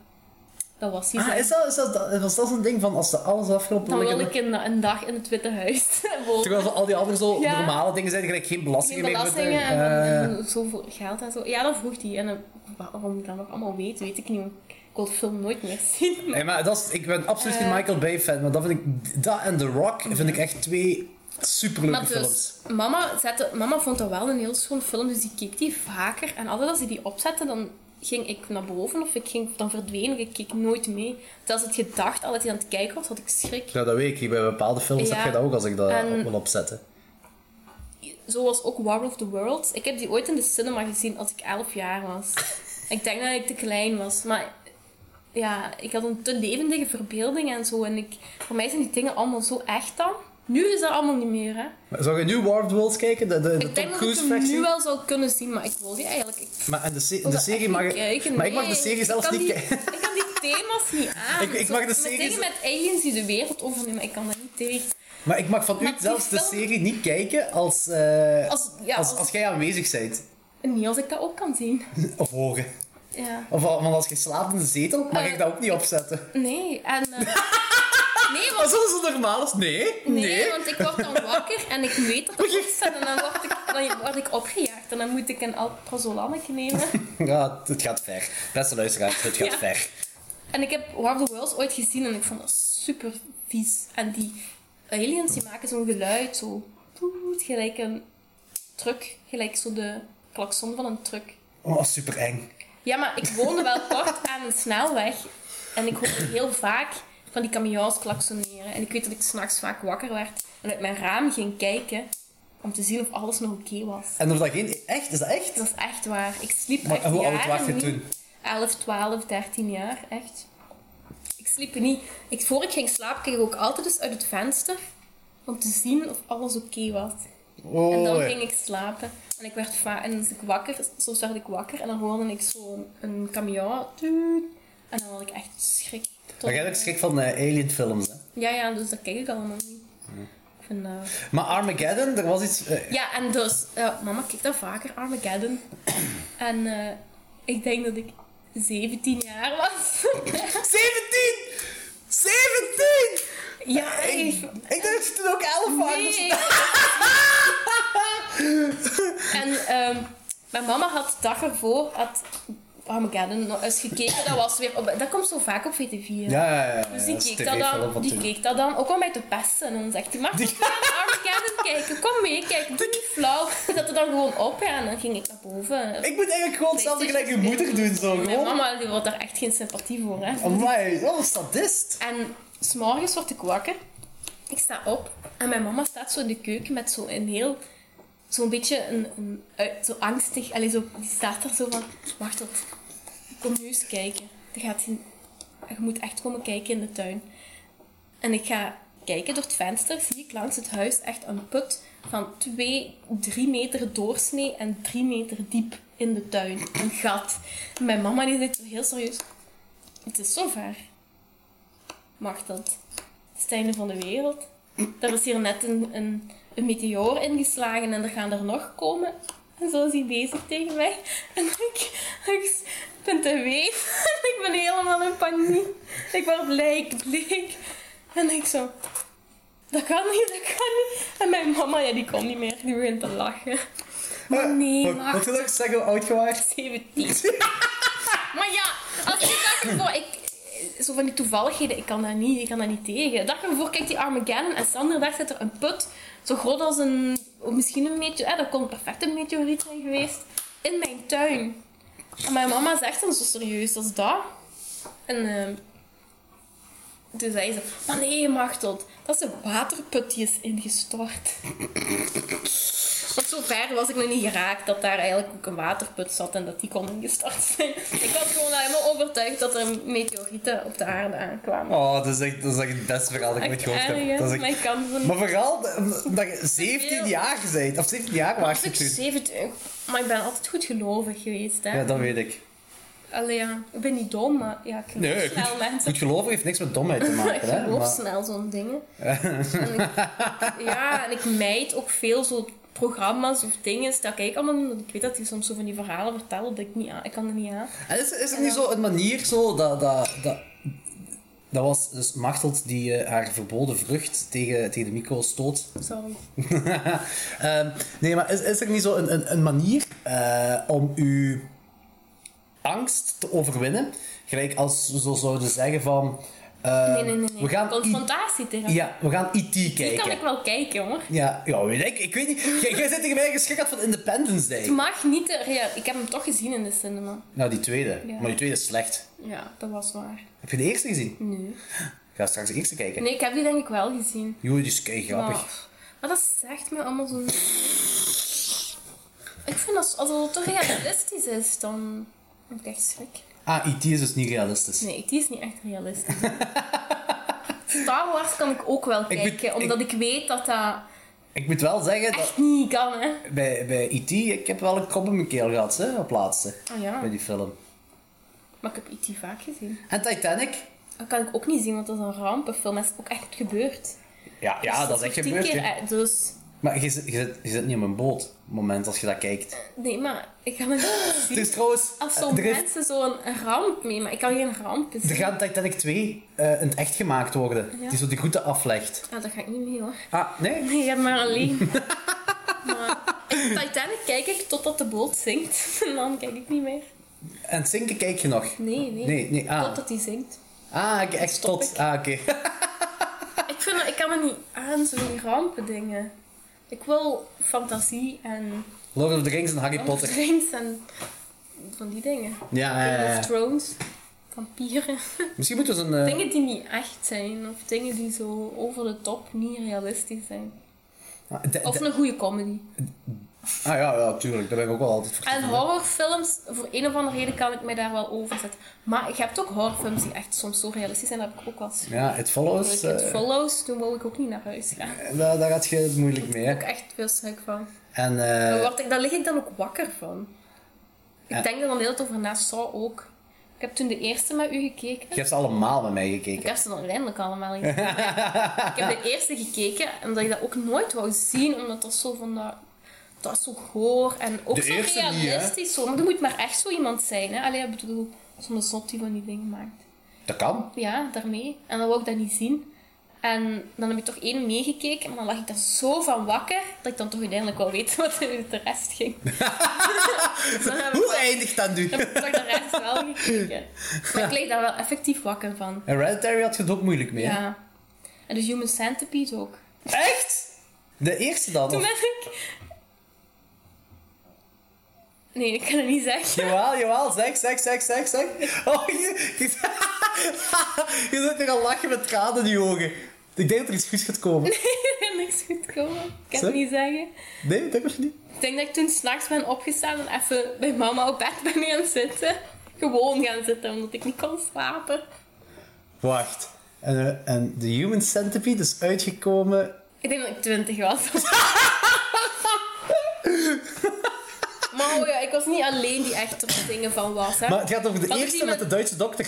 Dat was hij.
Ah,
zelf.
is dat, is dat, was dat zo'n ding van als de alles afgelopen
dan wilde
lekker-
ik een, een dag in het Witte Huis (laughs) wonen.
Terwijl zo al die andere zo
Ja.
normale dingen zijn, gelijk geen belastingen
Geen
meer
belastingen en,
betalen. Eh,
en zoveel geld en zo. Ja, dat vroeg hij. En eh, waarom ik dat nog allemaal weet, weet ik niet. want Ik wil de film nooit meer (laughs) zien. Eh.
Nee, maar dat is, ik ben absoluut geen Michael Bay fan, maar dat vind ik, dat en The Rock vind ik echt twee Superleuke
Maar dus,
films.
mama, zette, mama vond dat wel een heel schoon film, dus die keek die vaker. En altijd als hij die opzette, dan ging ik naar boven of ik ging, dan verdween ik. Ik keek nooit mee. Terwijl ze het gedacht, altijd die aan het kijken was, had ik schrik.
Nou, dat weet ik. Bij bepaalde films
Ja.
heb je dat ook als ik dat
En-
op wil opzetten.
Zoals ook War of the Worlds. Ik heb die ooit in de cinema gezien als ik 11 jaar was. ik denk dat ik te klein was, maar ja, ik had een te levendige verbeelding en zo. En ik, voor mij zijn die dingen allemaal zo echt dan. Nu is dat allemaal niet meer, hè.
Maar Zou je nu War of the Worlds kijken? De, de, de
Ik denk
Tom
dat ik
Cruise
hem nu
versie?
wel zou kunnen zien, maar ik wil die eigenlijk... Ik
Maar en de, se-
wil
de
dat
serie
echt
mag
niet
ik...
kijken.
Maar ik mag de
Nee,
serie
ik
zelfs
kan
niet (laughs)
die-
kijken.
Ik kan die thema's niet aan.
Ik- ik
Zo,
mag de
met
series-
Dingen met aliens die de wereld overnemen, ik kan dat niet tegen.
Maar ik mag van u
Maar die
zelfs de
film-
serie niet kijken als, eh,
Als- ja,
als,
als-
als jij aanwezig bent.
Niet als ik dat ook kan zien.
Of horen.
Ja.
Of al- want als je slaapt in de zetel, mag
Eh,
ik dat ook niet opzetten. (laughs)
Nee, en... eh, nee,
Maar
want...
zo is het normaal is? Nee. Nee.
Nee, want ik word dan wakker en ik
(laughs)
weet dat het opzet en dan word, ik, dan word ik opgejaagd en dan moet ik een alprazolametje nemen.
Ja, het- het gaat ver. Beste luisteraars, het gaat
Ja.
ver.
En ik heb War of the Worlds ooit gezien en ik vond dat super vies. En die aliens die maken zo'n geluid, zo toet, gelijk een truck, gelijk zo de klakson van een truck.
Oh, super eng.
Ja, maar ik woonde
(laughs)
wel kort aan een snelweg en ik hoorde heel vaak van die camions klaksoneren. En ik weet dat ik s'nachts vaak wakker werd en uit mijn raam ging kijken om te zien of alles nog oké was.
En of dat geen... Echt? Is dat echt?
Dat is echt waar. Ik sliep
Maar
echt
hoe oud
jaren
was je
niet.
toen?
11, 12, 13 jaar, echt. Ik sliep niet. Ik, voor ik ging slapen keek ik ook altijd eens uit het venster om te zien of alles oké was.
Oh,
en dan
ja.
ging ik slapen. En ik werd va- en als ik wakker, soms werd ik wakker en dan hoorde ik zo'n een camion. Tuut. En dan had ik echt schrik. Tot-
Maar jij hebt ook schrik van eh, alien films, hè?
Ja, ja, dus dat kijk ik allemaal niet. Ik vind dat-
Maar Armageddon, er was iets... eh,
Ja, en dus, ja, mama kijkt dat vaker,
(clears throat)
Armageddon. En eh, ik denk dat ik 17 jaar was. (laughs)
17! 17!
ja,
Ik,
ik.
ik dacht dat je toen ook dus- 11 was.
Nee. (laughs) en ehm, mijn mama had de dag ervoor had Armageddon nog eens gekeken. Dat, was weer op, dat komt zo vaak op VT4.
Ja, ja, ja. ja,
Dus die
dat is
keek dat
tv-film
dan,
van
die
toen.
keek dat dan, ook om mij te pesten. En dan zegt hij, maar
Die-
die... Armageddon kijken, kom mee, kijk, doe niet flauw. Ze zette dan gewoon op ja, en dan ging ik naar boven.
Ik moet eigenlijk gewoon hetzelfde gelijk je moeder doen, zo.
Mijn
Gewoon.
mama die had daar echt geen sympathie voor. Hè.
Amai, wat een sadist.
En s'morgens word ik wakker. Ik sta op. En mijn mama staat zo in de keuken met zo'n heel... Zo'n beetje een, een, ui- zo angstig. Allee, zo, die staat daar zo van... Wacht op. Kom nu eens kijken. Er gaat geen- je moet echt komen kijken in de tuin. En ik ga kijken door het venster. Zie ik langs het huis echt een put van 2, 3 meter doorsnee en 3 meter diep in de tuin. Een gat. En Mijn mama die zegt zo heel serieus... Het is zover mag dat. Het is het einde van de wereld. Er is hier net een, een, een meteoor ingeslagen en er gaan er nog komen. En zo is hij bezig tegen mij. En ik, ik ben te weef. (laughs) Ik ben helemaal in paniek. Ik word bleek, bleek. En ik zo... Dat kan niet, dat kan niet. En mijn mama, ja, die kon niet meer. Die begint te lachen. Maar Oh, nee,
Eh, Wat- Wat
maar
wil ik zeggen, hoe oud je
(laughs)
was?
17. Maar ja, als ik dag ervoor... Ik, zo van die toevalligheden, ik kan daar niet, ik kan daar niet tegen. De dag ervoor kijkt die Armageddon en de andere dag zit er een put, zo groot als een... of Misschien een meteor... Eh, dat kon perfect een meteoriet zijn geweest. In mijn tuin. En mijn mama zegt dan zo serieus als dat. En... ehm, toen zei ze, maar nee, Machteld, dat is een waterput die is ingestort. Want zo ver was ik nog niet geraakt dat daar eigenlijk ook een waterput zat en dat die kon ingestort zijn. Ik was gewoon helemaal overtuigd dat er meteorieten op de aarde aankwamen.
Oh, dat is echt, dat is echt het beste verhaal dat ik ooit gehoord
erg,
heb.
hè?
Dat is
maar
echt...
ik kan ze niet.
Maar vooral dat- dat je 17 jaar bent. Of 17 jaar was je
Ik
toen.
27, maar ik ben altijd goed gelovig geweest. Hè?
Ja, dat weet ik.
Allee, ja, ik ben niet dom, maar ja, ik geloof
Nee,
snel
goed,
mensen.
goed geloven heeft niks met domheid te
(laughs) ik
maken. Hè?
geloof
Maar-
snel zo'n
(laughs)
dingen. En ik, ja, en ik mijd ook veel zo programma's of dingen. Dat kijk ik allemaal niet, want ik weet dat die soms zo van die verhalen vertellen dat ik niet aan, ik kan er niet aan.
En is, is er niet zo een manier zo dat. dat, dat dat was dus Machteld die eh, haar verboden vrucht tegen, tegen de micro stoot. (laughs)
Sorry.
Ehm, nee, maar is, is er niet zo een, een, een manier eh, om uw angst te overwinnen? Gelijk als we zo zouden zeggen van... eh, Eh,
Nee, nee, nee. nee.
We gaan I-
Confrontatietherapie.
ja, we gaan IT kijken.
Die kan ik wel kijken, hoor.
Ja, ja weet ik, ik weet niet. Jij, jij zit tegen mij geschrikt van Independence
Het
Day.
mag niet te... Ja, ik heb hem toch gezien in de cinema.
Nou, die tweede.
Ja.
Maar die tweede is slecht.
Ja, dat was waar.
Heb je de eerste gezien?
Nee.
Ik ga straks de eerste kijken.
Nee, ik heb die denk ik wel gezien.
Joh, die is kei grappig.
Maar, maar dat zegt me allemaal zo... Ik vind dat als het toch realistisch is, dan heb ik echt schrik.
Ah, IT is dus niet realistisch.
Nee, die is niet echt
(laughs)
realistisch. Star Wars kan ik ook wel
Ik
kijken,
moet-
omdat ik... weet dat dat
Ik moet wel zeggen dat
echt niet kan, hè.
bij, bij IT, ik heb wel een kop in mijn keel gehad, hè, op laatste.
Ah, ja.
Bij die film.
Maar ik heb E.T. vaak gezien.
En Titanic?
Dat kan ik ook niet zien, want dat is een rampenfilm. Dat is ook echt gebeurd. Dus
Ja, ja dat is echt
tien
gebeurd.
keer
hè.
uit, Dus,
Maar je zit, je, zit, je zit niet op een boot, op het moment als je dat kijkt.
nee, maar ik
(laughs)
kan het niet
Er
zien.
is trouwens... eh,
Als zo'n
er, is-
mensen zo'n ramp mee, maar ik kan geen ramp zien.
er gaat Titanic 2 eh, in het echt gemaakt worden.
Ja.
Die zo die groeten aflegt.
Ah, dat ga ik niet mee, hoor.
Ah, nee?
(laughs) Nee, ik heb maar
(laughs)
alleen. maar, ik- Titanic kijk ik totdat de boot zinkt. (laughs) En dan kijk ik niet meer.
En het zinken kijk je nog?
Nee, nee.
Nee, nee, ah.
Totdat die zinkt.
Ah, ik- echt
Stop
tot. Ah, oké. (laughs)
Ik, vind, dat- ik kan er niet aan, zo'n rampen dingen. Ik wil fantasie en
Lord of the Rings en
Oh.
Harry Potter.
drinks en van die dingen.
Ja, ja, ja,
Game
ja.
of Thrones, vampieren. (laughs)
Misschien moeten we eens een... eh,
dingen die niet echt zijn, of dingen die zo over de top niet realistisch zijn.
ah, de-
Of
de-
een goede comedy.
ah, ja, ja, tuurlijk. Daar ben ik ook wel altijd voor.
En horrorfilms, voor een of andere reden kan ik mij daar wel over zetten. Maar je hebt ook horrorfilms die echt soms zo realistisch zijn, dat heb ik ook wel eens.
Ja, It Follows,
Als
eh,
ik het follows, toen wou ik ook niet naar huis gaan. Daar
daar, daar had je het moeilijk mee.
heb
hè.
ik echt veel schrik van.
En eh,
Daar, word ik, daar lig ik dan ook wakker van. Ik
Ja.
denk er dan de hele tijd over na, Saw ook. Ik heb toen de eerste met u gekeken.
je hebt ze allemaal met mij
Ik
gekeken.
heb ze dan uiteindelijk allemaal gezien. ik heb de eerste gekeken, omdat ik dat ook nooit wou zien, omdat dat zo van dat... Dat is zo goor en ook
De
zo
eerste niet, hè?
realistisch. zo. Maar er moet maar echt zo iemand zijn. Hè? Allee, ik bedoel, zo'n zot die van die dingen maakt.
Dat kan.
Ja, daarmee. En dan wou ik dat niet zien. En dan heb ik toch één meegekeken, maar dan lag ik daar zo van wakker, dat ik dan toch uiteindelijk wel weet (laughs) wat er met de rest
(laughs)
ging. Dus (laughs) dan heb ik
Hoe eindigt dat nu?
heb ik toch de rest wel gekeken. Maar ik leed daar wel effectief wakker van.
Hereditary had je het ook moeilijk mee. hè?
Ja. En de Human Centipede ook.
Echt? De eerste dan?
Toen
Of...
ben ik... Nee, ik kan het niet zeggen. (laughs)
Jawel, jawel, zeg, zeg, zeg, zeg, zeg. Oh, je, je, je (laughs) zit er al lachen met tranen in je ogen. Ik denk dat er iets goeds gaat komen.
Ik ben niks goed komen. Ik
Zeg.
kan het niet zeggen.
Nee, dat denk ik niet.
Ik denk dat ik toen s'nachts ben opgestaan en even bij mama op bed ben gaan zitten. Gewoon gaan zitten, omdat ik niet kon slapen.
Wacht. En, eh, en de Human Centipede is uitgekomen.
Ik denk dat ik twintig
(laughs)
was. maar oh ja, ik was niet alleen die echt er dingen van was. Hè.
Maar het gaat over de
Wat is
eerste
die
met
met-
de Duitse dokter.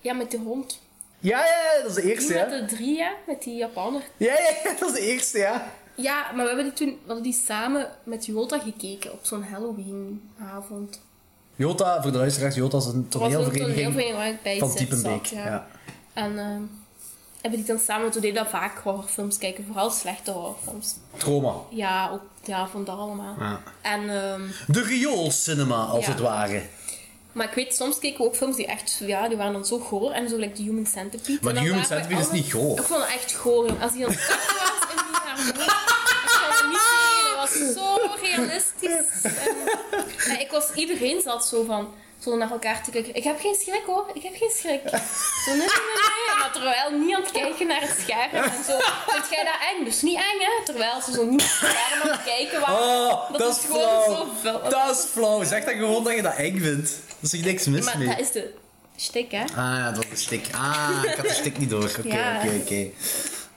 Ja, met de hond.
Ja, ja, ja, dat is de
Die
eerste, ja.
met de drie, hè? Met die Japaner.
Ja, ja, ja, dat is de eerste, ja.
Ja, maar we hebben die toen we hadden die samen met Jota gekeken op zo'n Halloweenavond.
Jota, voor de luisteraars, Jota is een
Dat was een
toneelvereniging
toneelvereniging waar ik bij
van
zat,
Diepenbeek.
zat, ja.
ja.
En ehm hebben die dan samen, toen deden we vaak horrorfilms kijken, vooral slechte horrorfilms.
Trauma.
Ja, ook, ja van dat allemaal.
Ja.
En, ehm,
De rioolcinema, als
Ja.
het ware.
maar ik weet, soms keken we ook films die echt, ja, die waren dan zo goor. En zo, like The Human Centipede.
Maar
En
The
dan
Human
waren we
Centipede is
allemaal-
niet goor.
Ik vond het echt goor, jongen. Als die dan kak was en die haar moeder. Ik kan het niet zeggen, dat was zo realistisch. En, en ik was, iedereen zat zo van, zo naar elkaar te kijken. Ik heb geen schrik hoor, ik heb geen schrik. Zo nee, nee, nee, nee. Maar terwijl niet aan het kijken naar het scherm en zo. Vind jij dat eng? Dus niet eng hè? Terwijl ze zo niet naar het scherm aan het kijken waren.
Oh, dat,
Dat
is
is
flauw.
gewoon zo fel.
Dat is flauw. Zeg dan gewoon dat je dat eng vindt. Er is er niks mis
maar
mee.
dat is de shtick hè?
Ah, ja, dat was een stik. Ah, ik had de stik niet door. Oké,
Ja.
oké, oké.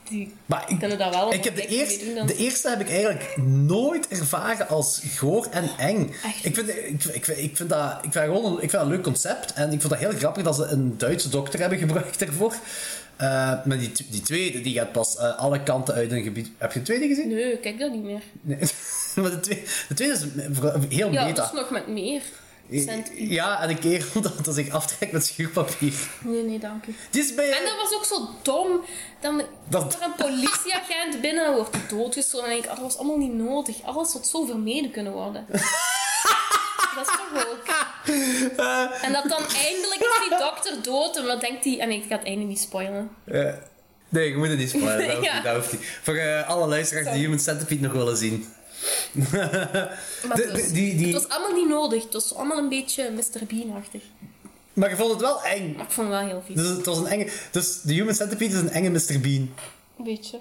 Die
Maar ik,
kunnen dat wel.
ik heb de,
ontdekken, die
eerste,
doen dan-
de eerste heb ik eigenlijk nooit ervaren als goor en eng.
Echt?
Ik vind, ik, ik, ik vind dat, ik vind dat gewoon een, ik vind dat een leuk concept. En ik vond dat heel grappig dat ze een Duitse dokter hebben gebruikt daarvoor. Eh, maar die, t- die tweede, die gaat pas eh, alle kanten uit een gebied... Heb je de tweede gezien?
Nee, ik kijk dat niet meer.
Nee. (laughs) maar de tweede, de tweede is vooral heel
Ja, dat
meta. Eh,
is nog met meer. Cent-
Ja, en een (laughs) kerel dat, dat zich aftrekt met schuurpapier.
Nee, nee, dank u.
Die is bij...
En dat was ook zo dom. Dan
Dat-
komt er een
(laughs)
politieagent binnen en wordt hij doodgeschoten. En dan denk ik, ah,
(laughs)
dat was allemaal niet nodig. Alles had zo vermeden kunnen worden. dat is toch ook...
Eh.
En dat dan eindelijk is die dokter dood. En wat denkt hij? En ik ga het einde niet spoilen.
Eh, nee, je moet het niet spoilen. Dat hoeft,
(laughs) Ja.
niet, dat hoeft niet. Voor eh, alle luisteraars die Human Centipede nog willen zien.
Maar
De-
het was-
de- die- die-
Het was allemaal niet nodig. Het was allemaal een beetje Mr. Bean-achtig.
Maar je vond het wel eng.
Maar ik vond het wel heel vies.
Dus het was een enge... Dus de Human Centipede is een enge Mr. Bean.
Een (laughs) beetje.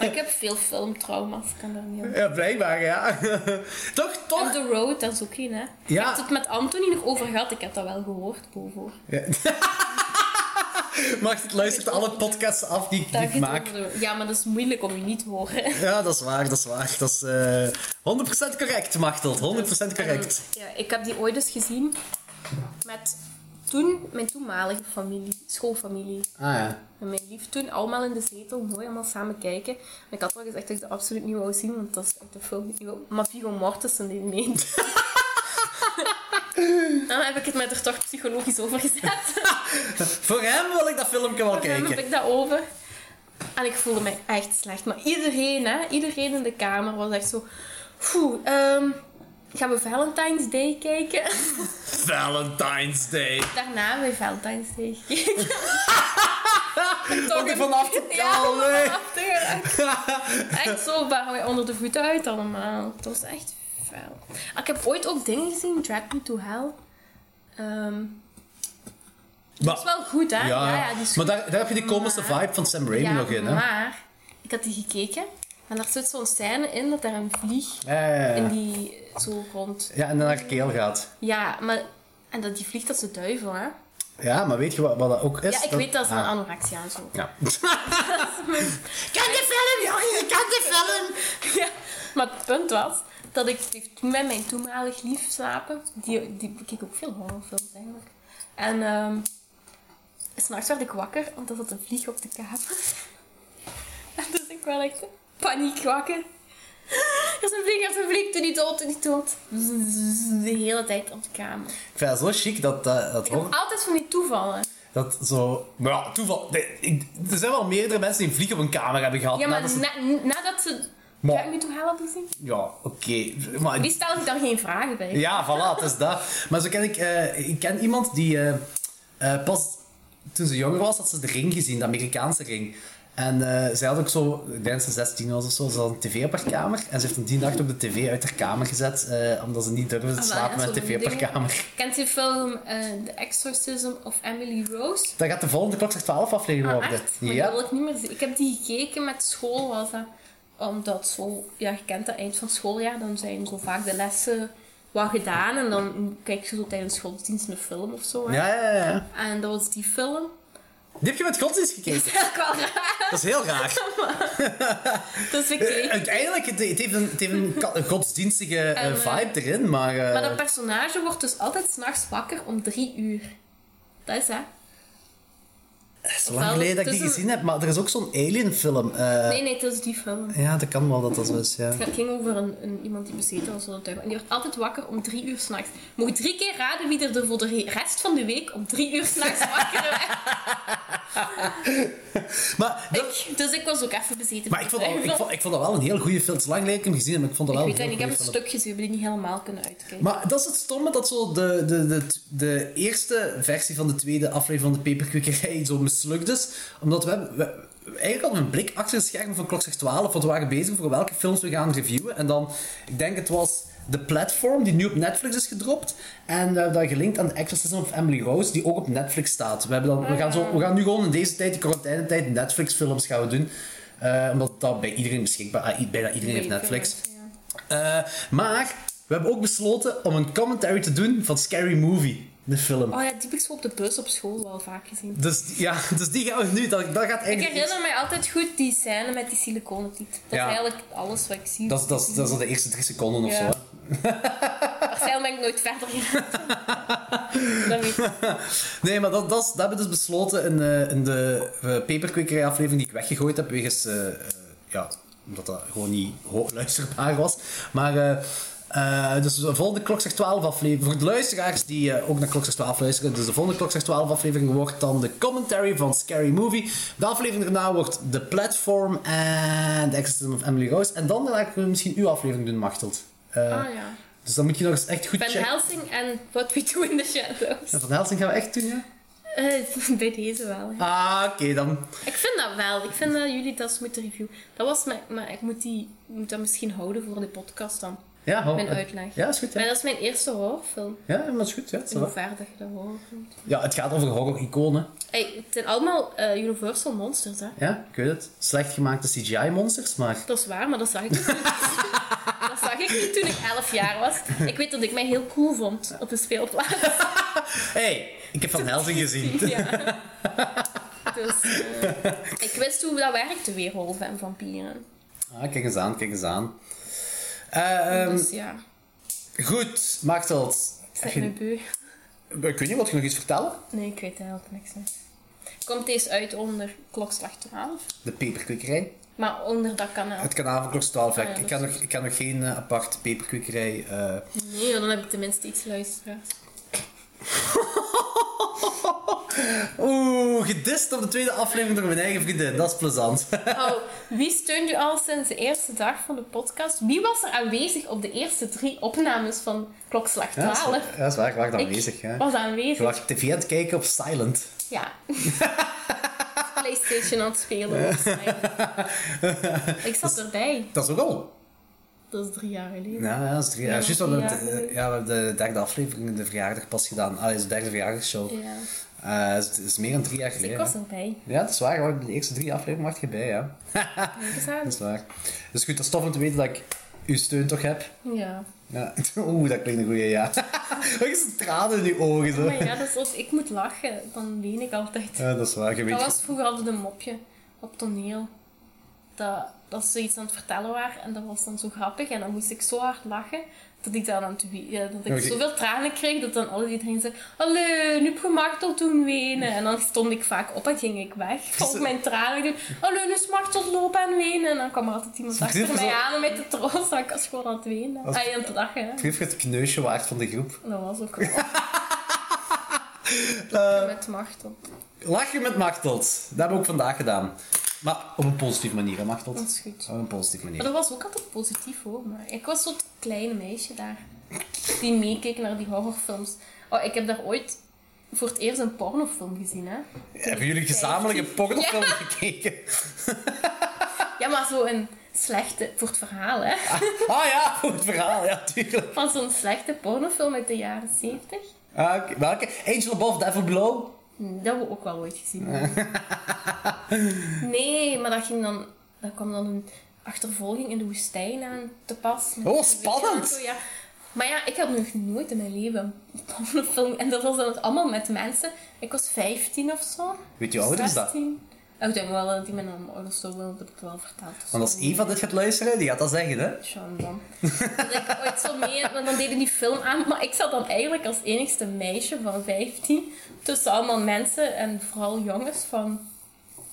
ik heb veel filmtrauma's. Ik kan daar niet aan.
Ja, blijkbaar, ja. (laughs) toch,
On
toch.
the road, dat is ook geen, hè? Je
Ja.
hebt het met Anthony nog over gehad. Ik heb dat wel gehoord, boven.
Ja. Mag het luistert alle podcasts af die ik, die ik
Daar
maak.
gaat het over. Ja, maar dat is moeilijk om je niet te horen.
Ja, dat is waar, dat is waar. Dat is eh 100% correct, Machteld. 100% correct.
(laughs) Ja, ik heb die ooit eens gezien met toen, mijn toenmalige familie, schoolfamilie.
Ah ja.
En mijn lief toen, allemaal in de zetel, mooi allemaal samen kijken. En ik had al gezegd dat ik dat absoluut niet wou zien, want dat is echt een film die ik niet wou- Maar Viggo Mortensen die meent. Dan heb ik het met haar toch psychologisch over
(laughs)
gezet.
(laughs) Voor hem wil ik dat filmpje wel
Dan heb
kijken.
ik dat over. En ik voelde mij echt slecht. Maar iedereen, hè, iedereen in de kamer was echt zo... Poeh, ehm, gaan we Valentine's Day kijken? (laughs)
Valentine's Day.
Daarna hebben we Valentine's Day gekeken. (laughs) Toch
Want ik vond af te
(laughs) Ja,
oh, nee.
vanaf te geraakt. Echt zo waren wij onder de voeten uit allemaal. Het was echt vuil. Ah, Ik heb ooit ook dingen gezien, Drag Me to Hell. Ehm, dat is
Maar,
wel goed, hè?
ja,
die is
maar
goed.
daar, daar heb je die komische
Maar-
vibe van Sam Raimi
Ja,
nog in, hè?
maar ik had die gekeken en daar zit zo'n scène in dat daar een vlieg
Ja, ja, ja,
in
ja.
die zo rond...
Ja, en dan naar haar keel gaat.
Ja, maar... En dat die vliegt als de duivel, hè?
Ja, maar weet je wat, wat dat ook is?
Ja, ik weet dat is een
ah,
anorexia en zo.
Ja. Kan de film, jongen, kan de film!
Ja, maar het punt was dat ik toen met mijn toenmalig lief slapen. Die, die ik keek ook veel horrorfilms eigenlijk. En ehm s'nachts werd ik wakker, omdat er zat een vlieg op de kamer. En dus ik wel echt paniek wakker. Er is een vlieg, er is een vlieg, doe niet dood, doe niet dood. De hele tijd op de kamer.
Ik vind het zo chic dat dat, dat
Ik heb
hoor.
altijd van die toevallen.
Dat zo... Maar ja, toeval... Nee, ik- er zijn wel meerdere mensen die een vlieg op een kamer hebben gehad.
Ja, maar
nadat ze-
na- nadat ze...
Maar-
Ga ik nu toe halen hebben gezien?
Ja, oké. Maar
Die stelt zich dan geen vragen bij.
Ja, voilà, het is dat. Maar zo ken ik, eh, ik ken iemand die eh, eh, pas toen ze jonger was, had ze de ring gezien, de Amerikaanse ring. En eh, zij had ook zo, ik denk dat ze 16 was of zo, ze had een tv op haar kamer. En ze heeft hem die nacht op de tv uit haar kamer gezet, eh, omdat ze niet durfde te
Ah, wel,
slapen
ja,
met
zo'n
tv op haar
dingen.
kamer.
Kent je de film eh, The Exorcism of Emily Rose?
Dat gaat de volgende klokslag 12 aflevering
Ah,
worden.
echt? Maar
Ja.
dat wil ik niet meer zien. Ik heb die gekeken met school, was dat. Omdat zo, ja, je kent dat eind van schooljaar, dan zijn zo vaak de lessen wat gedaan. En dan kijk je zo tijdens godsdienst een film of zo. hè.
Ja, ja, ja, ja.
En dat was die
(laughs)
film.
Die heb je met godsdienst
(laughs)
gekeken.
Dat is eigenlijk wel raar.
Dat is heel raar.
Dus we
Eh, (laughs)
keken.
Uiteindelijk, het, het heeft een, het heeft een ka- godsdienstige eh,
En, eh,
vibe erin, maar... eh,
Maar dat personage wordt dus altijd s'nachts wakker om drie uur. Dat is hè?
Het is lang geleden dat ik die
tussen-
gezien heb, maar er is ook zo'n alien film. eh,
Nee, nee, dat is die film.
Ja, dat kan wel dat dat zo is, ja.
Het ging over een, een, iemand die bezeten was door een duivel. En die werd altijd wakker om drie uur s'nachts. Mocht drie keer raden wie er de- voor de re- rest van de week om drie uur
(laughs)
s'nachts wakker werd.
Maar, dat-
Ik- Dus ik was ook even bezeten.
maar ik, vond dat,
Ik
ik, vond, ik vond dat wel een heel goede film. Het is lang geleden dat ik hem gezien heb, maar ik vond dat wel
weet het
een
niet, ik
heel
heb een
goede film.
stuk gezien, we hebben die niet helemaal kunnen uitkijken.
Maar dat is het stomme, dat zo de, de, de, de eerste versie van de tweede aflevering van de Peperkwekerij zo mislukt is. Omdat we, hebben- we- we- eigenlijk hadden we een blik achter de schermen van Klokzicht 12, want we waren bezig voor welke films we gaan reviewen. En dan, ik denk het was The Platform, die nu op Netflix is gedropt. En we hebben dat gelinkt aan The Exorcism of Emily Rose, die ook op Netflix staat. We, hebben dan, we, gaan, zo, we gaan nu gewoon in deze tijd, de quarantainetijd, Netflix films gaan we doen. Eh, omdat dat bij iedereen beschikbaar, ah, i- bijna iedereen heeft Netflix. Eh, maar we hebben ook besloten om een commentary te doen van Scary Movie, de film.
Oh ja, die heb ik zo op de bus op school wel vaak gezien.
Dus die- ja, (laughs) dus die gaan we nu, dat, dat gaat
Ik
eigenlijk...
herinner mij altijd goed die scène met die siliconen tiet. Dat
Ja.
is eigenlijk alles wat ik zie.
Dat, is- dat, is- dat is al de eerste drie seconden of
Ja.
zo. hè.
(laughs) Waarschijnlijk ben ik nooit verder
(laughs)
gegaan. Dat weet
Eh,
ik.
Nee, maar dat, dat, is- dat hebben we dus besloten in, eh, in de eh paperkwekerij-aflevering die ik weggegooid heb, wegens... eh, eh, ja, omdat dat gewoon niet ho- luisterbaar was. Maar eh, Eh, dus de volgende Klokslag 12 aflevering, voor de luisteraars die eh, ook naar Klokslag 12 luisteren, dus de volgende Klokslag 12 aflevering wordt dan de commentary van Scary Movie. De aflevering daarna wordt The Platform en The Exorcism of Emily Rose. En dan daarna kunnen we misschien uw aflevering doen, Machteld. Eh,
Ah ja.
Dus dan moet je nog eens echt goed
Van
checken.
Helsing en What We Do in the Shadows.
Van Helsing gaan we echt doen, ja?
Eh, (laughs) bij deze wel. ja.
Ah, oké dan.
Ik vind dat wel. Ik vind dat jullie dat eens moeten reviewen. Dat was mijn... Maar ik moet, die, moet dat misschien houden voor de podcast dan.
Ja, hou-
Mijn uitleg.
Ja, is goed.
Maar
Ja,
dat is mijn eerste horrorfilm.
ja maar is goed. Ja, is
Hoe
wel.
ver dat je dat horrorfilm...
ja, het gaat over horror-iconen.
Hey, het zijn allemaal eh, Universal Monsters, hè.
Ja, ik weet het. Slecht gemaakte CGI-monsters, maar...
Dat is waar, maar dat zag
(laughs)
ik niet. dat zag ik niet toen ik 11 jaar was. Ik weet dat ik mij heel cool vond op de speelplaats.
hey, ik
(laughs)
heb Van Helsing gezien.
Ja.
(laughs)
Dus eh, ik wist hoe dat werkte, weerwolven en vampieren.
Ah, kijk eens aan, kijk eens aan. Eh, ehm,
Dus ja,
goed, Machteld.
zeg
Heb
me
je-
beu.
Ik weet niet, wat je nog iets vertellen?
Nee, ik weet er eigenlijk niks van. Komt deze uit onder klokslag 12?
De peperkwekerij.
Maar onder dat
(laughs)
kanaal.
Het kanaal van Klok 12.
Ah, ja,
ik,
dat
kan
is
nog, ik kan nog geen eh, aparte peperkwekerij... eh,
Nee, dan heb ik tenminste iets luisteren.
Oeh, gedist op de tweede aflevering door mijn eigen vriendin. Dat is plezant.
Oh, wie steunt u al sinds de eerste dag van de podcast? Wie was er aanwezig op de eerste drie opnames van klokslag
Ja, dat is-
12?
Ja, dat is waar. Ik wacht
Ik
aanwezig. hè.
was
Je
aanwezig.
was tv aan het kijken op silent.
Ja.
(laughs)
PlayStation aan het spelen. waarschijnlijk.
(laughs)
ik zat erbij.
Dat is ook al.
Dat is drie jaar geleden.
Ja, ja, dat is drie. Ja,
Ja,
juist, want we
ja.
hebben de- ja, we hebben de derde aflevering, de verjaardag pas gedaan. Ah, is de derde verjaardagshow.
Ja.
Eh, dus het is meer dan drie jaar
Ik
geleden.
was
hè.
erbij.
Ja, dat is waar. hoor. De eerste drie afleveringen was je bij, ja.
Kijk eens aan.
Dat is waar. Dus goed, dat is tof om te weten dat ik uw steun toch heb.
Ja.
Ja. (laughs) Oeh, dat klinkt een goeie, ja. (laughs) Wat is een tranen in uw ogen, zo.
Maar ja, dat is als ik moet lachen, dan ween ik altijd.
Ja, dat is waar. Je weet
Dat was vroeger altijd een mopje op toneel. Dat, dat ze iets aan het vertellen waren en dat was dan zo grappig. En dan moest ik zo hard lachen dat ik, dan aan het, wie- eh, dat ik
Oké.
zoveel tranen kreeg dat dan alle iedereen zei: Allee, nu heb je Martel doen wenen. En dan stond ik vaak op en ging ik weg. Vond ik mijn tranen. Ik dacht, Allee, nu is Martel lopen en wenen. En dan kwam er altijd iemand
Precies,
achter mij
zo-
aan om mij te troosten. Ik was gewoon aan het wenen.
Als-
Ah, aan het lachen. hè.
Geef het kneusje waard van de groep.
Dat was
(laughs)
ook wel.
Eh.
Met Martel.
Lach je met Machtelt. Dat hebben we ook vandaag gedaan. Maar op een positieve manier, hè, Machtelt?
Dat is goed.
Op een positieve manier.
Maar dat was ook altijd positief hoor. Maar ik was zo'n kleine meisje daar. Die meekeek naar die horrorfilms. Oh, ik heb daar ooit voor het eerst een pornofilm gezien, hè?
Hebben jullie gezamenlijk een
(laughs)
pornofilm gekeken?
Ja, maar zo een slechte, voor het verhaal, hè?
(laughs) Ah ja, voor het verhaal, ja, tuurlijk.
Van zo'n slechte pornofilm uit de jaren 70.
Ah, oké. Welke? Angel Above, Devil Below?
Mm, Dat hebben we ook wel ooit gezien. (laughs) Nee, maar dat ging dan... Dat kwam dan een achtervolging in de woestijn aan te pas. Dus
Oh, spannend!
Ja. Maar ja, ik had nog nooit in mijn leven een (laughs) pornofilm. En dat was dan ook allemaal met mensen. Ik was 15 of zo.
Weet je hoe oud is dat?
16. Oh, ik denk wel dat die met een ouders zo wil, dat heb ik wel verteld. of zo.
Want als Eva dit gaat luisteren, die gaat dat zeggen, hè?
Sean (laughs) dan. Dat ik ooit zo mee, want dan deden die film aan. Maar ik zat dan eigenlijk als enigste meisje van 15 tussen allemaal mensen en vooral jongens van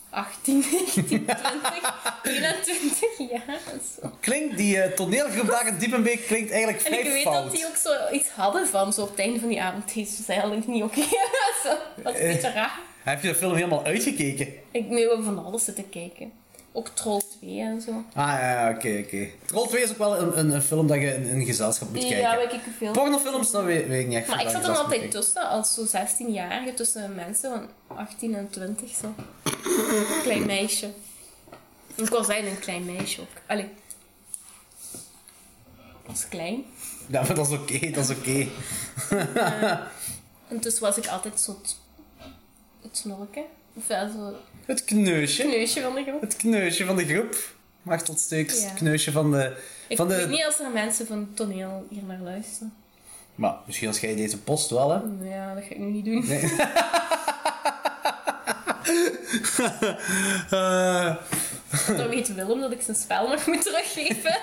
18, 19, 20, 21 jaar en zo.
Klinkt die eh, toneelgroep daar in Diepenbeek klinkt eigenlijk
En
vrij
ik weet
fout.
dat die ook zo iets hadden van zo op het einde van die avond. Deze was eigenlijk niet oké. (laughs) Zo, dat is een beetje raar.
Heb je de film helemaal uitgekeken?
Ik nu hebben van alles zitten kijken. Ook Troll 2 en zo.
Ah ja, oké, oké. Troll 2 is ook wel een, een, een film dat je in, in gezelschap moet
Ja,
kijken.
weet ik veel.
Pornofilms, dat weet, weet ik niet echt.
Maar
of
ik
dat
zat
je
er
dat moet
altijd
kijken.
tussen, als zo'n 16-jarige, tussen mensen van 18 en 20 zo. Klein meisje. Ik was eigenlijk een klein meisje ook. Allee. Ik was klein.
Ja, maar dat is oké, dat is oké.
En dus was ik altijd zo het, het snorken. Of ja, zo het
Het kneusje.
neusje van de groep.
Het kneusje van de groep. Mag tot stuks.
Ja.
Het kneusje van de...
Ik
Van
weet
de...
niet als er mensen van het toneel hier naar luisteren.
Maar misschien als jij deze post wel, hè?
Ja, dat ga ik nu niet doen.
Eh, (laughs)
Dan weet Willem dat ik zijn spel nog moet teruggeven.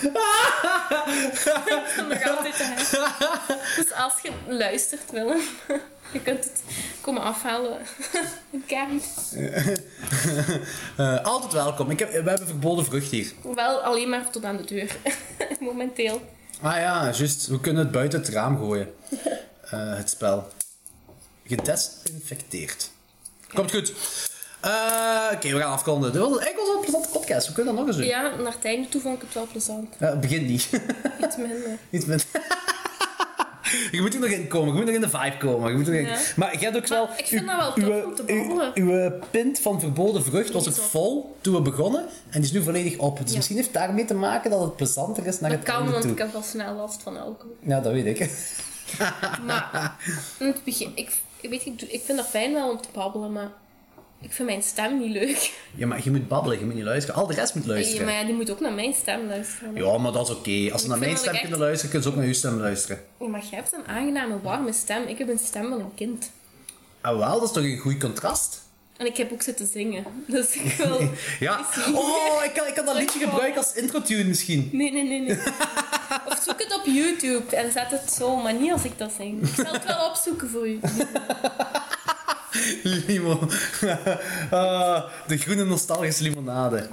Ik kan nog altijd te hebben. Dus als je luistert, Willem, (laughs) je kunt het komen afhalen. (laughs) Een kern.
Eh, altijd welkom. Ik heb, we hebben verboden vrucht hier.
Wel alleen maar tot aan de deur. (laughs) Momenteel.
Ah ja, juist. We kunnen het buiten het raam
(laughs)
gooien. Eh, het spel. Gedesinfecteerd. Komt goed. Eh, Oké, we gaan afkonden. Dit was- Ik was wel een plezante podcast. We kunnen dat nog eens doen.
Ja, naar het einde toe vond ik het wel plezant.
Ja, het begint niet. (laughs)
Iets minder.
Iets met... (laughs) Je moet er nog in komen, je moet nog in de vibe komen. Je moet er nog in-
Ja.
Maar jij hebt ook wel.
ik vind dat wel tof om te babbelen.
Uw, uw pint van verboden vrucht was ook
Niet zo.
vol toen we begonnen en die is nu volledig op. Dus misschien heeft daarmee te maken dat het plezanter is naar
Dat
het
kan,
einde
want
toe.
ik heb wel snel last van alcohol.
Ja, dat weet ik.
Maar in het begin, ik, ik, weet, ik, doe- ik vind dat fijn wel om te babbelen, maar ik vind mijn stem niet leuk.
Ja, maar je moet babbelen, je moet niet luisteren. Al de rest moet
Ja,
luisteren.
maar ja, die moet ook naar mijn stem luisteren.
Ja, maar dat is oké. Als ze naar
vind
mijn
dat
stem
ik echt-
kunnen luisteren, kunnen ze ook naar uw stem luisteren.
Ja, maar jij hebt een aangename, warme stem. Ik heb een stem van een kind.
Ah, wel, dat is toch een goed contrast?
En ik heb ook zitten zingen. (laughs) Dus ik wil...
Ja.
Ik zie-
Oh, ik kan, ik kan dat liedje gebruiken als intro-tune misschien.
Nee, nee, nee, nee. Of zoek het op YouTube en zet het zo, maar niet als ik dat zing. Ik zal het wel opzoeken voor u.
Limo. (laughs) Ah, de groene nostalgische limonade.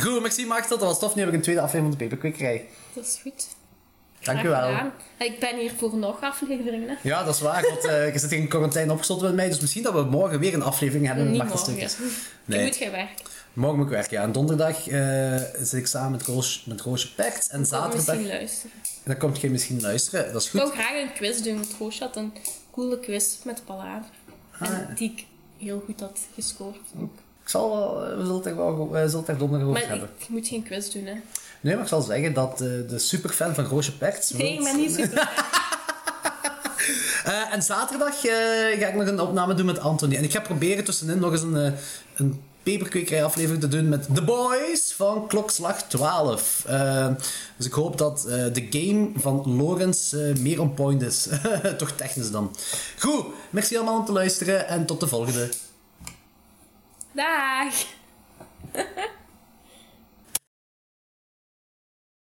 Goed, merci Max, dat was tof. Nu heb ik een tweede aflevering van de Peperkwekerij.
Dat is goed.
Dank u wel.
Graag gedaan. Ik ben hier voor nog afleveringen. hè.
Ja, dat is waar, want eh, ik zit hier in quarantaine opgesloten met mij, dus misschien dat we morgen weer een aflevering hebben met
Niet
Maarten
morgen.
Stikkers.
Je
Nee,
moet gaan werken.
morgen moet ik werken. Ja. En donderdag eh, zit ik samen met Roosje, met Roosje Pekt en
Zaterdag.
zaterdag...
Misschien luisteren.
Dan komt jij misschien luisteren, dat is
Ik
goed.
wil graag een quiz doen. Want Roosje had een coole quiz met Palaver.
Ah.
En die ik heel goed had gescoord. ook.
Ik zal wel, eh, we zullen het er wel, we zullen het er donderdag over
Maar
hebben.
ik moet geen quiz doen, hè.
Nee, maar ik zal zeggen dat eh, de superfan van Roosje Perts...
Nee,
wilt-
maar niet super.
Eh, en zaterdag eh, ga ik nog een opname doen met Anthony. En ik ga proberen tussenin nog eens een, eh, een peperkwekerij aflevering te doen met The Boys van Klokslag 12. Eh, dus ik hoop dat eh, de game van Lorenz eh, meer on point is. (laughs) Toch technisch dan. Goed, merci allemaal om te luisteren en tot de volgende.
Dag!